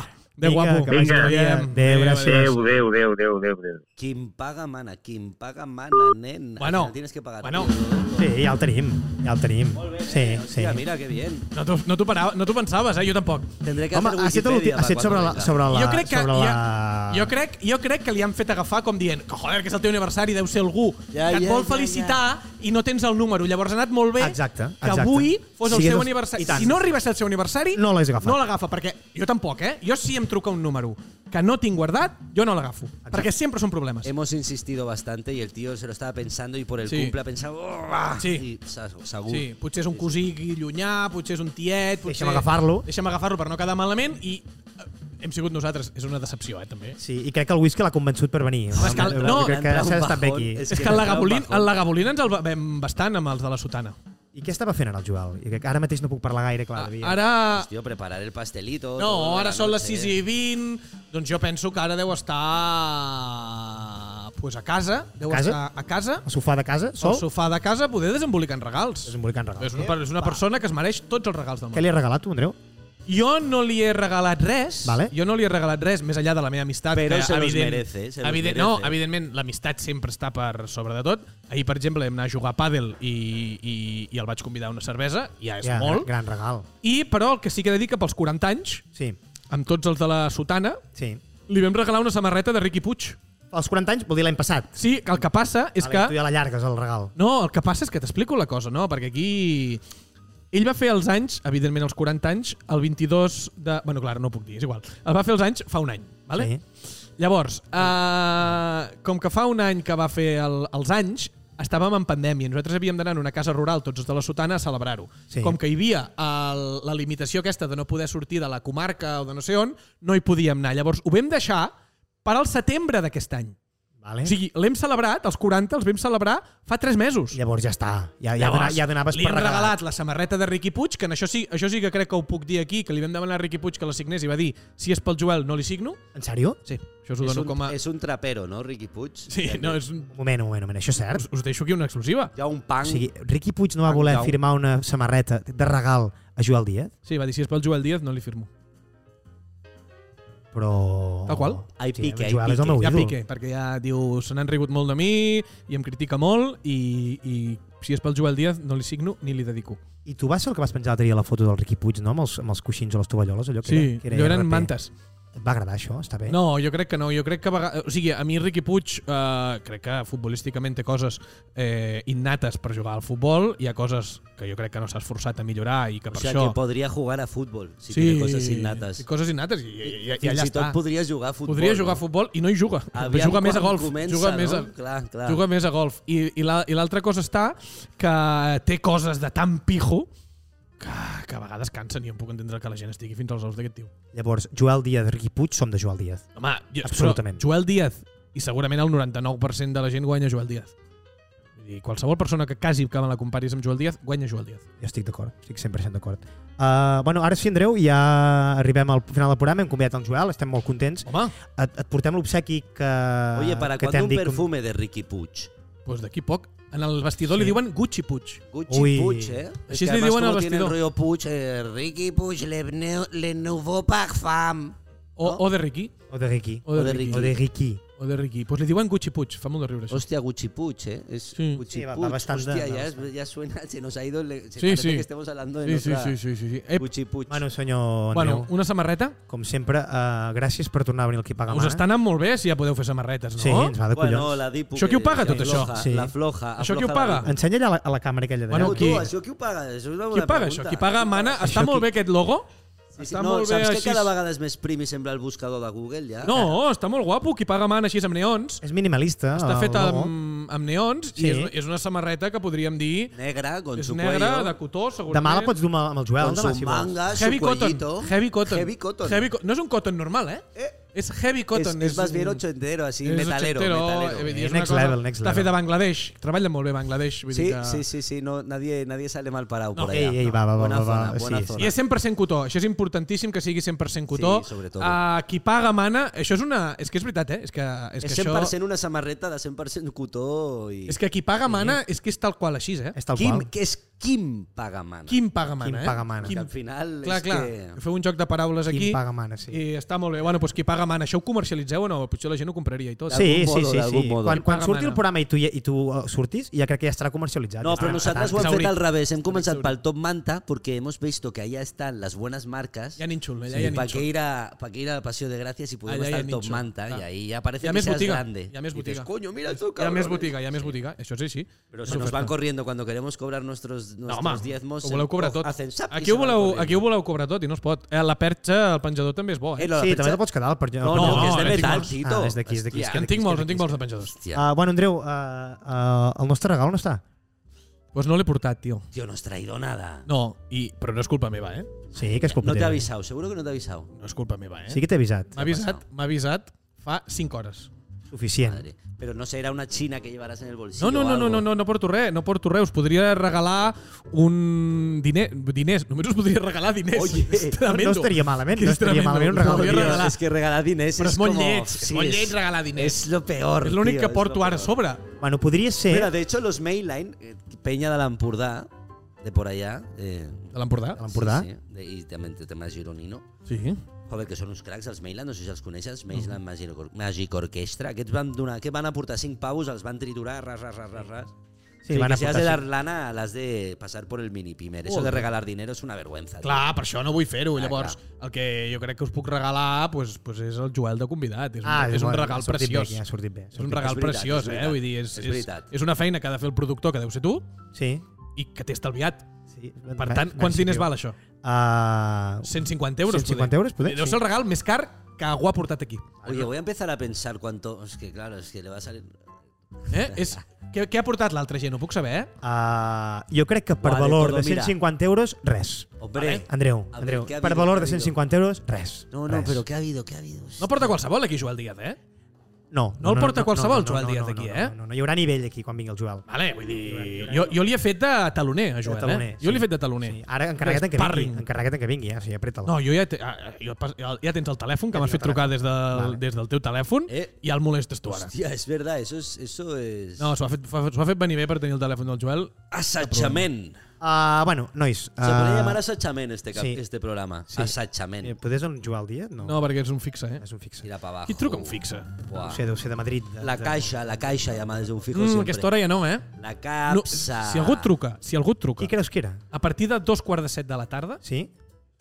Vinga,
adéu, guapo.
que
vagi
Ens
bé.
Adéu,
veiem. Adéu,
gràcies.
adéu.
Déu, Déu, Déu, Déu, Déu, Déu.
Quien paga mana, quien paga mana, nen. Al
Bueno,
final tienes que pagar.
bueno.
tú.
Sí, ja el tenim. Ja el tenim. Sí, sí.
Hòstia, mira, que bien.
No t'ho no t'ho parava- no t'ho pensaves, eh? Jo tampoc.
Tendré que
Home,
hacer
ha estat, l'últim-
Wikipedia
ha estat
para
sobre, la,
cuando
sobre, la,
jo crec que,
sobre la...
ja- jo, crec, jo crec que li han fet agafar com dient que joder, que és el teu aniversari, deu ser algú
Ja,
que et
ja,
vol
ja,
felicitar i no tens el número. Llavors ha anat molt bé
Exacte,
que
exacte.
avui fos el
Sigues-
seu
i
aniversari.
tant.
Si no arriba a ser el seu aniversari,
No l'has agafat.
No l'agafa, perquè jo tampoc, eh? Jo si em truca un número que no tinc guardat, jo no l'agafo. Perquè sempre són problemes.
Hemos insistido bastante y el tío se lo estaba pensando y por el
Sí.
cumple ha pensado... "Oh, ah",
Sí.
y sa- segur.
Sí, potser és un cosí llunyà, potser és un tiet... Potser...
Deixa'm agafar-lo.
Deixa'm agafar-lo per no quedar malament i eh, hem sigut nosaltres. És una decepció, eh, també.
Sí, i crec que el whisky l'ha convençut per venir.
Home, és que el- no,
crec que
entra un
s'ha estat bé
bajón,
aquí.
és-
És
que
que
no cal
el Lagabolín,
bajón.
el Lagabolín ens el va- vam bastant amb els de la sotana.
I què estava fent ara el Joel? I crec que ara mateix no puc parlar gaire, clar. devia.
Ah, Ara...
Pues, tío, preparar el pastelito...
No,
todo,
ara
la
són les
noche.
6 i 20, doncs jo penso que ara deu estar pues a casa, deu
A casa?
estar a casa,
Al sofà de casa,
sol?
sol,
al sofà de casa, poder desembolicant regals.
desembolicant regals.
És una, és una persona que es mereix tots els regals del
Què
món.
li has regalat, tu, Andreu?
Jo no li he regalat res,
Vale.
jo no li he regalat res, més enllà de la meva amistat.
Però
que
se los
evident-
merece, se los
evident-
merece.
No, evidentment, l'amistat sempre està per sobre de tot. Ahir, per exemple, vam anar a jugar a pàdel i, i, i el vaig convidar a una cervesa, ja és
Ja,
molt.
Gran, gran regal.
I, però, el que sí que he de dir que pels 40 anys,
Sí,
amb tots els de la sotana,
sí.
li vam regalar una samarreta de Ricky Puig.
Als 40 anys, vol dir l'any passat.
Sí, que el que passa és
vale, Tu
que...
ja la llargues, el regal.
No, el que passa és que t'explico la cosa, no? Perquè aquí... Ell va fer els anys, evidentment els 40 anys, el 22 de... Bueno, clar, no ho puc dir, és igual. El va fer els anys fa un any, vale?
Sí.
Llavors, eh, com que fa un any que va fer el, els anys, estàvem en pandèmia. Nosaltres havíem d'anar a una casa rural, tots els de la Sotana, a celebrar-ho.
Sí.
Com que hi havia el, la limitació aquesta de no poder sortir de la comarca o de no sé on, no hi podíem anar. Llavors, ho vam deixar per al setembre d'aquest any.
Vale.
O sigui, l'hem celebrat, els 40 els vam celebrar fa 3 mesos.
Llavors ja està. Ja, ja, dona, ja donaves
li
per
hem
regalar.
regalat la samarreta de Riqui Puig, que en això sí, això sí que crec que ho puc dir aquí, que li vam demanar a Riqui Puig que la signés i va dir, si és pel Joel no li signo.
En sèrio?
Sí, això us ho
Es
dono
un,
com a...
es un trapero, ¿no, Ricky Puig?
Sí, no, és un...
Un moment, un moment, un moment. Això és cert?
us, us deixo aquí una exclusiva.
Ya un
O
pan.
sigui, Ricky Puig no va voler
Cau.
firmar una samarreta de regal a Joel Díaz,
Sí, va dir, si és pel Joel Díaz no li firmo.
però...
Tal qual.
Ai,
Sí,
pique, ai,
Joel és
pique.
el meu
ja
ídol.
pique, perquè ja diu, se n'han rigut molt de mi i em critica molt i, i si és pel Joel Díaz no li signo ni li dedico.
I tu vas ser el que vas penjar l'altre dia la foto del Riqui Puig, no? Amb els, amb els coixins o les tovalloles, allò que
Sí,
era, que era
jo eren
RP.
mantes.
Et va agradar això? Està
Eh?
bé?
No, jo crec que no. Jo crec que a vegades... O sigui, a mi Riqui Puig eh, crec que futbolísticament té coses eh, innates per jugar al futbol. Hi ha coses que jo crec que no s'ha esforçat a millorar i que
O
per
sea,
això...
que podría jugar a fútbol si tiene cosas innatas.
I coses innates. I, i, i, i
Fins
allà
i tot
està.
podria jugar a futbol.
Podria jugar a
no?
futbol i no hi juga.
Aviam
juga més a
quan
golf.
comença,
juga
no?
més a...
Clar, clar.
Juga més a golf. I, i la- i l'altra cosa està que té coses de tan pijo que, que a vegades cansen i jo em puc entendre que la gent estigui fins als ous d'aquest tio.
Llavors, Joel Díaz, Riqui Puig, som de Joel Díaz.
Home, jo,
Absolutament.
però Joel Díaz, i segurament el 99% de la gent guanya Joel Díaz. Vull dir, qualsevol persona que quasi que me la comparis amb Joel Díaz, guanya Joel Díaz.
Jo estic d'acord, estic 100% d'acord. Uh, bueno, ara sí, Andreu, ja arribem al final del programa, hem convidat en Joel, estem molt contents.
Home,
Et, et portem l'obsequi que...
Oye,
Ah,
¿para
que
cuándo
t'hem
un
dit com-
perfume de Ricky Puig?
doncs d'aquí poc, en el vestidor sí. li diuen Gucci Puig.
Gucci
Ui.
Puig, ¿eh?
Així li diuen al
tiene el
vestidor.
rollo Puig, eh, Ricky Puig, le, neu- le nouveau parfum.
O,
No?
o de Riqui.
O de Riqui.
O de,
O de
Riqui.
O de Riqui.
O de Riqui. Doncs li diuen Gucci Puig. Fa molt de riure, això.
Hostia, Gucci Puig, ¿eh? Es
Sí.
Gucci
Sí, va- va
Puig.
bastante,
Hostia,
va
ya, es- ya suena, se nos ha ido. el- Se
Sí,
parece
sí.
que estemos hablando de
Sí, sí,
nuestra
sí, sí, sí, sí. Ep,
Gucci Puig.
Bueno, senyor Andreu,
bueno, una samarreta?
com sempre, uh, gràcies per tornar a venir aquí a pagar
Us està anant molt bé si ja podeu fer samarretes, no?
Sí, ens va de collons.
Bueno, la Dipu.
Això qui ho
que-
pues paga,
que
tot això?
afloja,
Sí.
La floja.
Això qui ho
afloja la
paga?
Dipu.
Ensenya allà la, a la càmera aquella d'allà.
Bueno,
Bueno,
qui-
tu, això qui ho paga? Això és una
Qui
bona
paga això?
pregunta.
Qui paga mana? Està
Això
molt
qui-
bé aquest logo?
Sí, sí,
Està
no,
molt bé
saps que
així.
cada vegada és més prim i sembla el buscador de Google, ja?
No, està molt guapo. Qui paga mana així amb neons?
És minimalista.
Està
el
fet
logo.
amb, amb neons
Ah, Sí.
i és, és una samarreta que podríem dir
Negra, con
és
su
negra,
cuello,
de cotó, segurament.
Demà la pots dur amb el Joel,
con
demà,
su
si vols.
Doncs manga, su
Heavy cotton.
cuellito.
Heavy cotton.
Ah, Heavy cotton.
Heavy co- no és un cotton normal, eh?
Eh,
És heavy cotton.
és, és más
un-
bien ochentero, así,
és
metalero.
ochentero,
metalero.
eh, vull dir, és
Eh, next
una cosa-
level, next
Està
level.
fet a Bangladesh. Treballa molt bé a Bangladesh. Vull
Sí,
dir que...
sí, sí, sí, no, nadie, nadie sale mal parado por
Ei,
allá.
ei, va, va, va,
Buena
va, va.
zona, buena
Sí, sí.
zona.
I és 100% cotó. Això és importantíssim que sigui 100% cotó.
Sí, sobretot.
Uh, qui paga mana... Això és una... És que és veritat, eh? És que, és
És
que
100%
això...
una samarreta de 100% cotó i...
És que qui paga mana és que és tal qual així, eh?
És tal
Quim,
qual.
que és Quim Pagamana.
Quim Pagamana,
Quim
eh?
Pagamana.
Que
Quim...
al final
Clar,
és
clar.
que...
Feu un joc de paraules
Quim
aquí
Pagamana, sí.
i està molt bé. Bueno, doncs qui paga mana. Això ho comercialitzeu o no? Potser la gent ho compraria i tot.
Sí,
D'algun
sí,
modo,
sí,
d'algun
sí.
modo.
Quan, quan
Paga
surti el
mana.
programa i tu, i tu eh, surtis, ja crec que ja estarà comercialitzat. Ah,
No,
Ja
pero
estarà
nosotros
petant.
vamos a hacer
Exaurit.
al revés. Hemos comenzado
Exaurit.
para el Top Manta porque hemos visto que allá están las buenas marcas.
Hi ha ninxul, allà
y
hi ha
para que
ninxul.
ir a para que ir a Paseo de Gracias y podemos
Allá
estar
hay
en Top
nicho,
Manta
claro.
y ahí ya parece
Ya
que
ves
seas
botiga,
grande.
ya ves
Y dices,
botiga.
coño, mira esto,
Hi ha
cabrón.
més botiga, hi ha més botiga. Això sí, sí.
Pero si nos van corriendo cuando queremos cobrar nuestros,
No,
nuestros
home,
diezmos.
ho voleu cobrar
co-
tot.
Hacen zap y
Aquí
se
ho,
van
voleu,
corriendo.
aquí ho voleu cobrar tot i no es pot. Eh, la perxa, el penjador també és bo,
Eh,
eh?
lo de la
Sí, també
percha-
te pots quedar al penjador.
No, no,
No,
que
no,
es de
eh,
metal,
tinc-
Tito.
Ah, és d'aquí, és d'aquí,
Hòstia,
és
Que en tinc molts, en tinc molts de penjadors. Doncs
hòstia.
Uh, bueno, Andreu, uh, uh, el nostre regal on està?
pues Doncs no l'he portat, tio.
Tío, no has traído nada.
No, i, però no és culpa meva, eh?
Sí, que és culpa
No te he
teva.
avisado, seguro que no te he avisado.
No és culpa meva, eh?
Sí que t'he avisat.
M'ha avisat, m'ha avisat fa 5 hores.
Suficient.
Madre. Pero no será una china que llevarás en el bolsillo.
No, no,
o
no, no,
algo.
no, no, no porto res, no porto res. Us podria regalar un diner, diners, només us podria regalar diners.
Oye,
És
No, no
tremendo.
estaria malament,
Que
no
és
estaria
tremendo.
malament un regal.
No,
de
jo
Tío,
dia.
regalar-
es que regalar diners
Però és molt
como-
lleig, és
sí,
molt
es-
lleig regalar diners.
Es lo peor.
És l'únic
tío,
que
es
porto
lo
ara a
peor.
sobre.
Bueno, podria ser...
Mira, de hecho, los mainline, eh, Peña de Alampurdá, de por allá. Eh,
De l'Empordà?
De l'Empordà?
Sí, sí, de, I també el tema de Gironino.
Sí.
Joder, que són uns cracs, els mainland, no sé si els coneixes, mainland Magic, Or- Magic Orquestra. Aquests van donar, que van aportar 5 pavos, els van triturar, ras, ras, ras, ras, ras.
Sí,
O sigui,
van
que si has de
aportar
dar lana, l'has de pasar por el mini pimer. Eso de
Joder.
regalar dinero es una vergüenza.
Clar, per això no vull fer-ho.
Ah,
Llavors, el que jo crec que us puc regalar pues, pues és el Joel de convidat. És un,
Ah,
és un
bueno,
regal
ha sortit
preciós.
bé, ja ha sortit bé, ha
És
sortit
un
bé.
regal
És veritat,
preciós,
és
eh?
veritat,
Vull dir, és,
és
és,
veritat.
és una feina que ha de fer el productor, que deu ser tu,
Sí.
i que t'he estalviat.
sí.
Per tant, quants diners val això?
Uh,
150 euros,
150 euros, poder,
Deu
sí.
ser el regal més car que algú ha portat aquí.
Oye, voy a empezar a pensar cuánto... Es que claro, es que le va a salir...
Eh? És, què, què ha portat l'altra gent? Ho puc saber, eh?
uh, jo crec que per
Vale,
valor
todo,
de
mira.
150 euros, res.
Hombre.
Andreu,
A ver,
Andreu,
¿qué ha
per
habido?
valor de
¿Qué ha habido?
150 euros, res.
No, no,
res.
pero ¿qué ha habido? ¿Qué ha habido?
Ah, No porta qualsevol aquí, Joel Díaz, eh?
No,
No el porta qualsevol,
no,
Joel
no,
Díaz,
no,
aquí,
no,
eh?
No, no, no, hi haurà nivell aquí quan vingui el Joel.
Vale, vull dir... Jo, jo li he fet de taloner, a Joel,
taloner,
eh? Jo li
sí.
he fet de taloner.
Sí, ara encarrega't que vingui,
Sparring.
encarrega't que vingui, eh? O sigui, apreta-lo.
No, jo ja, te, ah, jo, pas- ja tens el telèfon, que m'has fet
tinc el
trucar des, de,
Vale.
des del teu telèfon,
Eh.
i el molestes tu ara.
Hostia, es verdad, eso es... Eso es...
No, s'ho ha, fet, s'ho ha fet venir bé per tenir el telèfon del Joel.
Asachament.
Uh, bueno, nois... Uh,
Se
Ah,
podría llamar asachament este, cap-
sí.
este programa. Asachament.
eh, Podés on Joel Díaz? No,
No, perquè és un fixe, eh?
és un fixe.
Tira para abajo.
Qui truca un fixe?
Buah.
No sé, deu ser de Madrid. De,
La
de-
caixa, la caixa llama desde un fijo
Mm,
siempre.
aquesta hora ja no, eh?
La
No,
capsa.
si algú et truca, si algú et truca,
Qui creus que era?
a partir de dos quarts de set de la tarda,
Sí?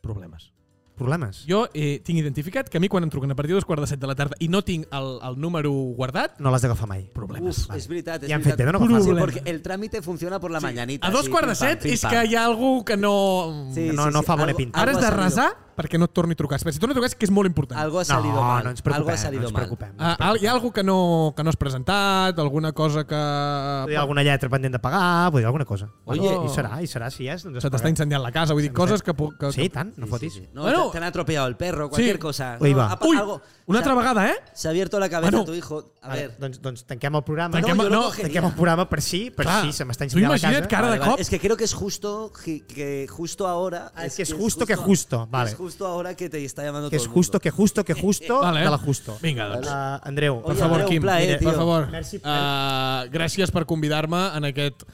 problemes.
Problemes?
Jo eh, tinc identificat que a mi quan em truquen a partir de dos quarts de set de la tarda i no tinc el, el número guardat,
No l'has d'agafar mai.
problemes.
Uf, es verdad, es
Ja han fet bé
veritat.
de no agafar.
Sí,
Problema.
porque el trámite funciona por la mañanita.
a dos
sí,
quarts de
pim, pam,
set
pim,
és
pam.
que hi ha algú que no...
Sí,
no-
sí,
no
sí,
fa bona
algo-
pinta.
Ara
algo
has de
ha salido-
resar perquè no et torni a trucar. Espera, si torna a trucar és que és molt important.
Algo ha
No,
salido mal.
no ens preocupem.
Algo ha salido
no ens preocupem. No ens
Ah, al- hi ha algú que no, que no has presentat, alguna cosa que...
Vull dir alguna lletra pendent de pagar, vull dir alguna cosa.
Oye,
i serà, i serà, si és, doncs
Se t'està incendiant la casa, vull dir, coses que... pu- que
Sí, i tant, no
Sí,
fotis.
sí, sí. No,
Bueno.
te, te han atropellado el perro, cualquier
Sí.
cosa.
Ahí
No,
va.
ha pa-
Ui,
algo- se ha-
una altra vegada, eh?
Se ha abierto la cabeza
Bueno.
tu hijo. A
Vale,
ver.
doncs, doncs tanquem el programa.
Tanquem-
no,
yo lo
no,
cogería.
tanquem el programa per si, per
Clar,
si, se m'està
tu
incendiant la
imagina't
casa.
que ara de
Vale, vale.
cop...
Es que creo que es justo que, que justo ahora.
Ah, es que es justo que justo, vale.
Es justo ahora que te está llamando
Que
todo
és
el
justo,
mundo.
que justo, que justo,
Vale. eh?
de la justo.
Vinga, doncs.
Uh, Andreu,
Per
Oye,
favor,
Andreu,
Quim,
un plaer,
mira,
tio.
per favor.
Merci,
Uh, gràcies per convidar-me en aquest uh,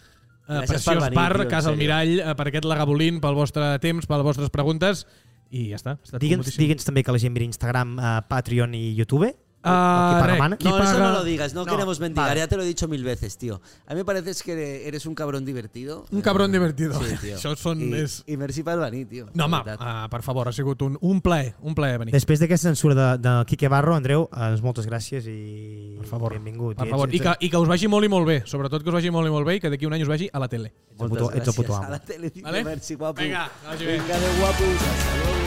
Gràcies
preciós
per
venir,
venir,
bar,
tio, en
Casa
sèrio.
Almirall, uh, per aquest lagabolín, pel vostre temps, per les vostres preguntes, i ja està. ha estat
Digue'ns
comodíssim.
digue'ns també que la gent mira Instagram, uh, Patreon i YouTube.
Ah,
Aquí per
rec.
demana.
qui
No, eso
paga-
no lo digas, no,
No,
queremos mendigar,
vale.
ya te lo he dicho mil veces, tío. A mí me parece que eres un cabrón divertido.
Un
Eh,
cabrón divertido.
Sí, tío.
Això són-
I,
és-
I merci per venir, tio.
No, home,
De veritat.
uh, per favor, ha sigut un, un plaer, un plaer venir.
Després d'aquesta censura de, de Quique Barro, Andreu, eh, doncs moltes gràcies i
Per favor.
benvingut.
Per
I
favor. I que, I que us vagi molt i molt bé, sobretot que us vagi molt i molt bé i que d'aquí un any us vagi a la tele.
ets el puto- ets el puto
gràcies
amo.
A la tele, tio,
Vale?
merci, guapo.
Vinga, que vagi bé.
Vinga, adéu, guapos. Hasta luego.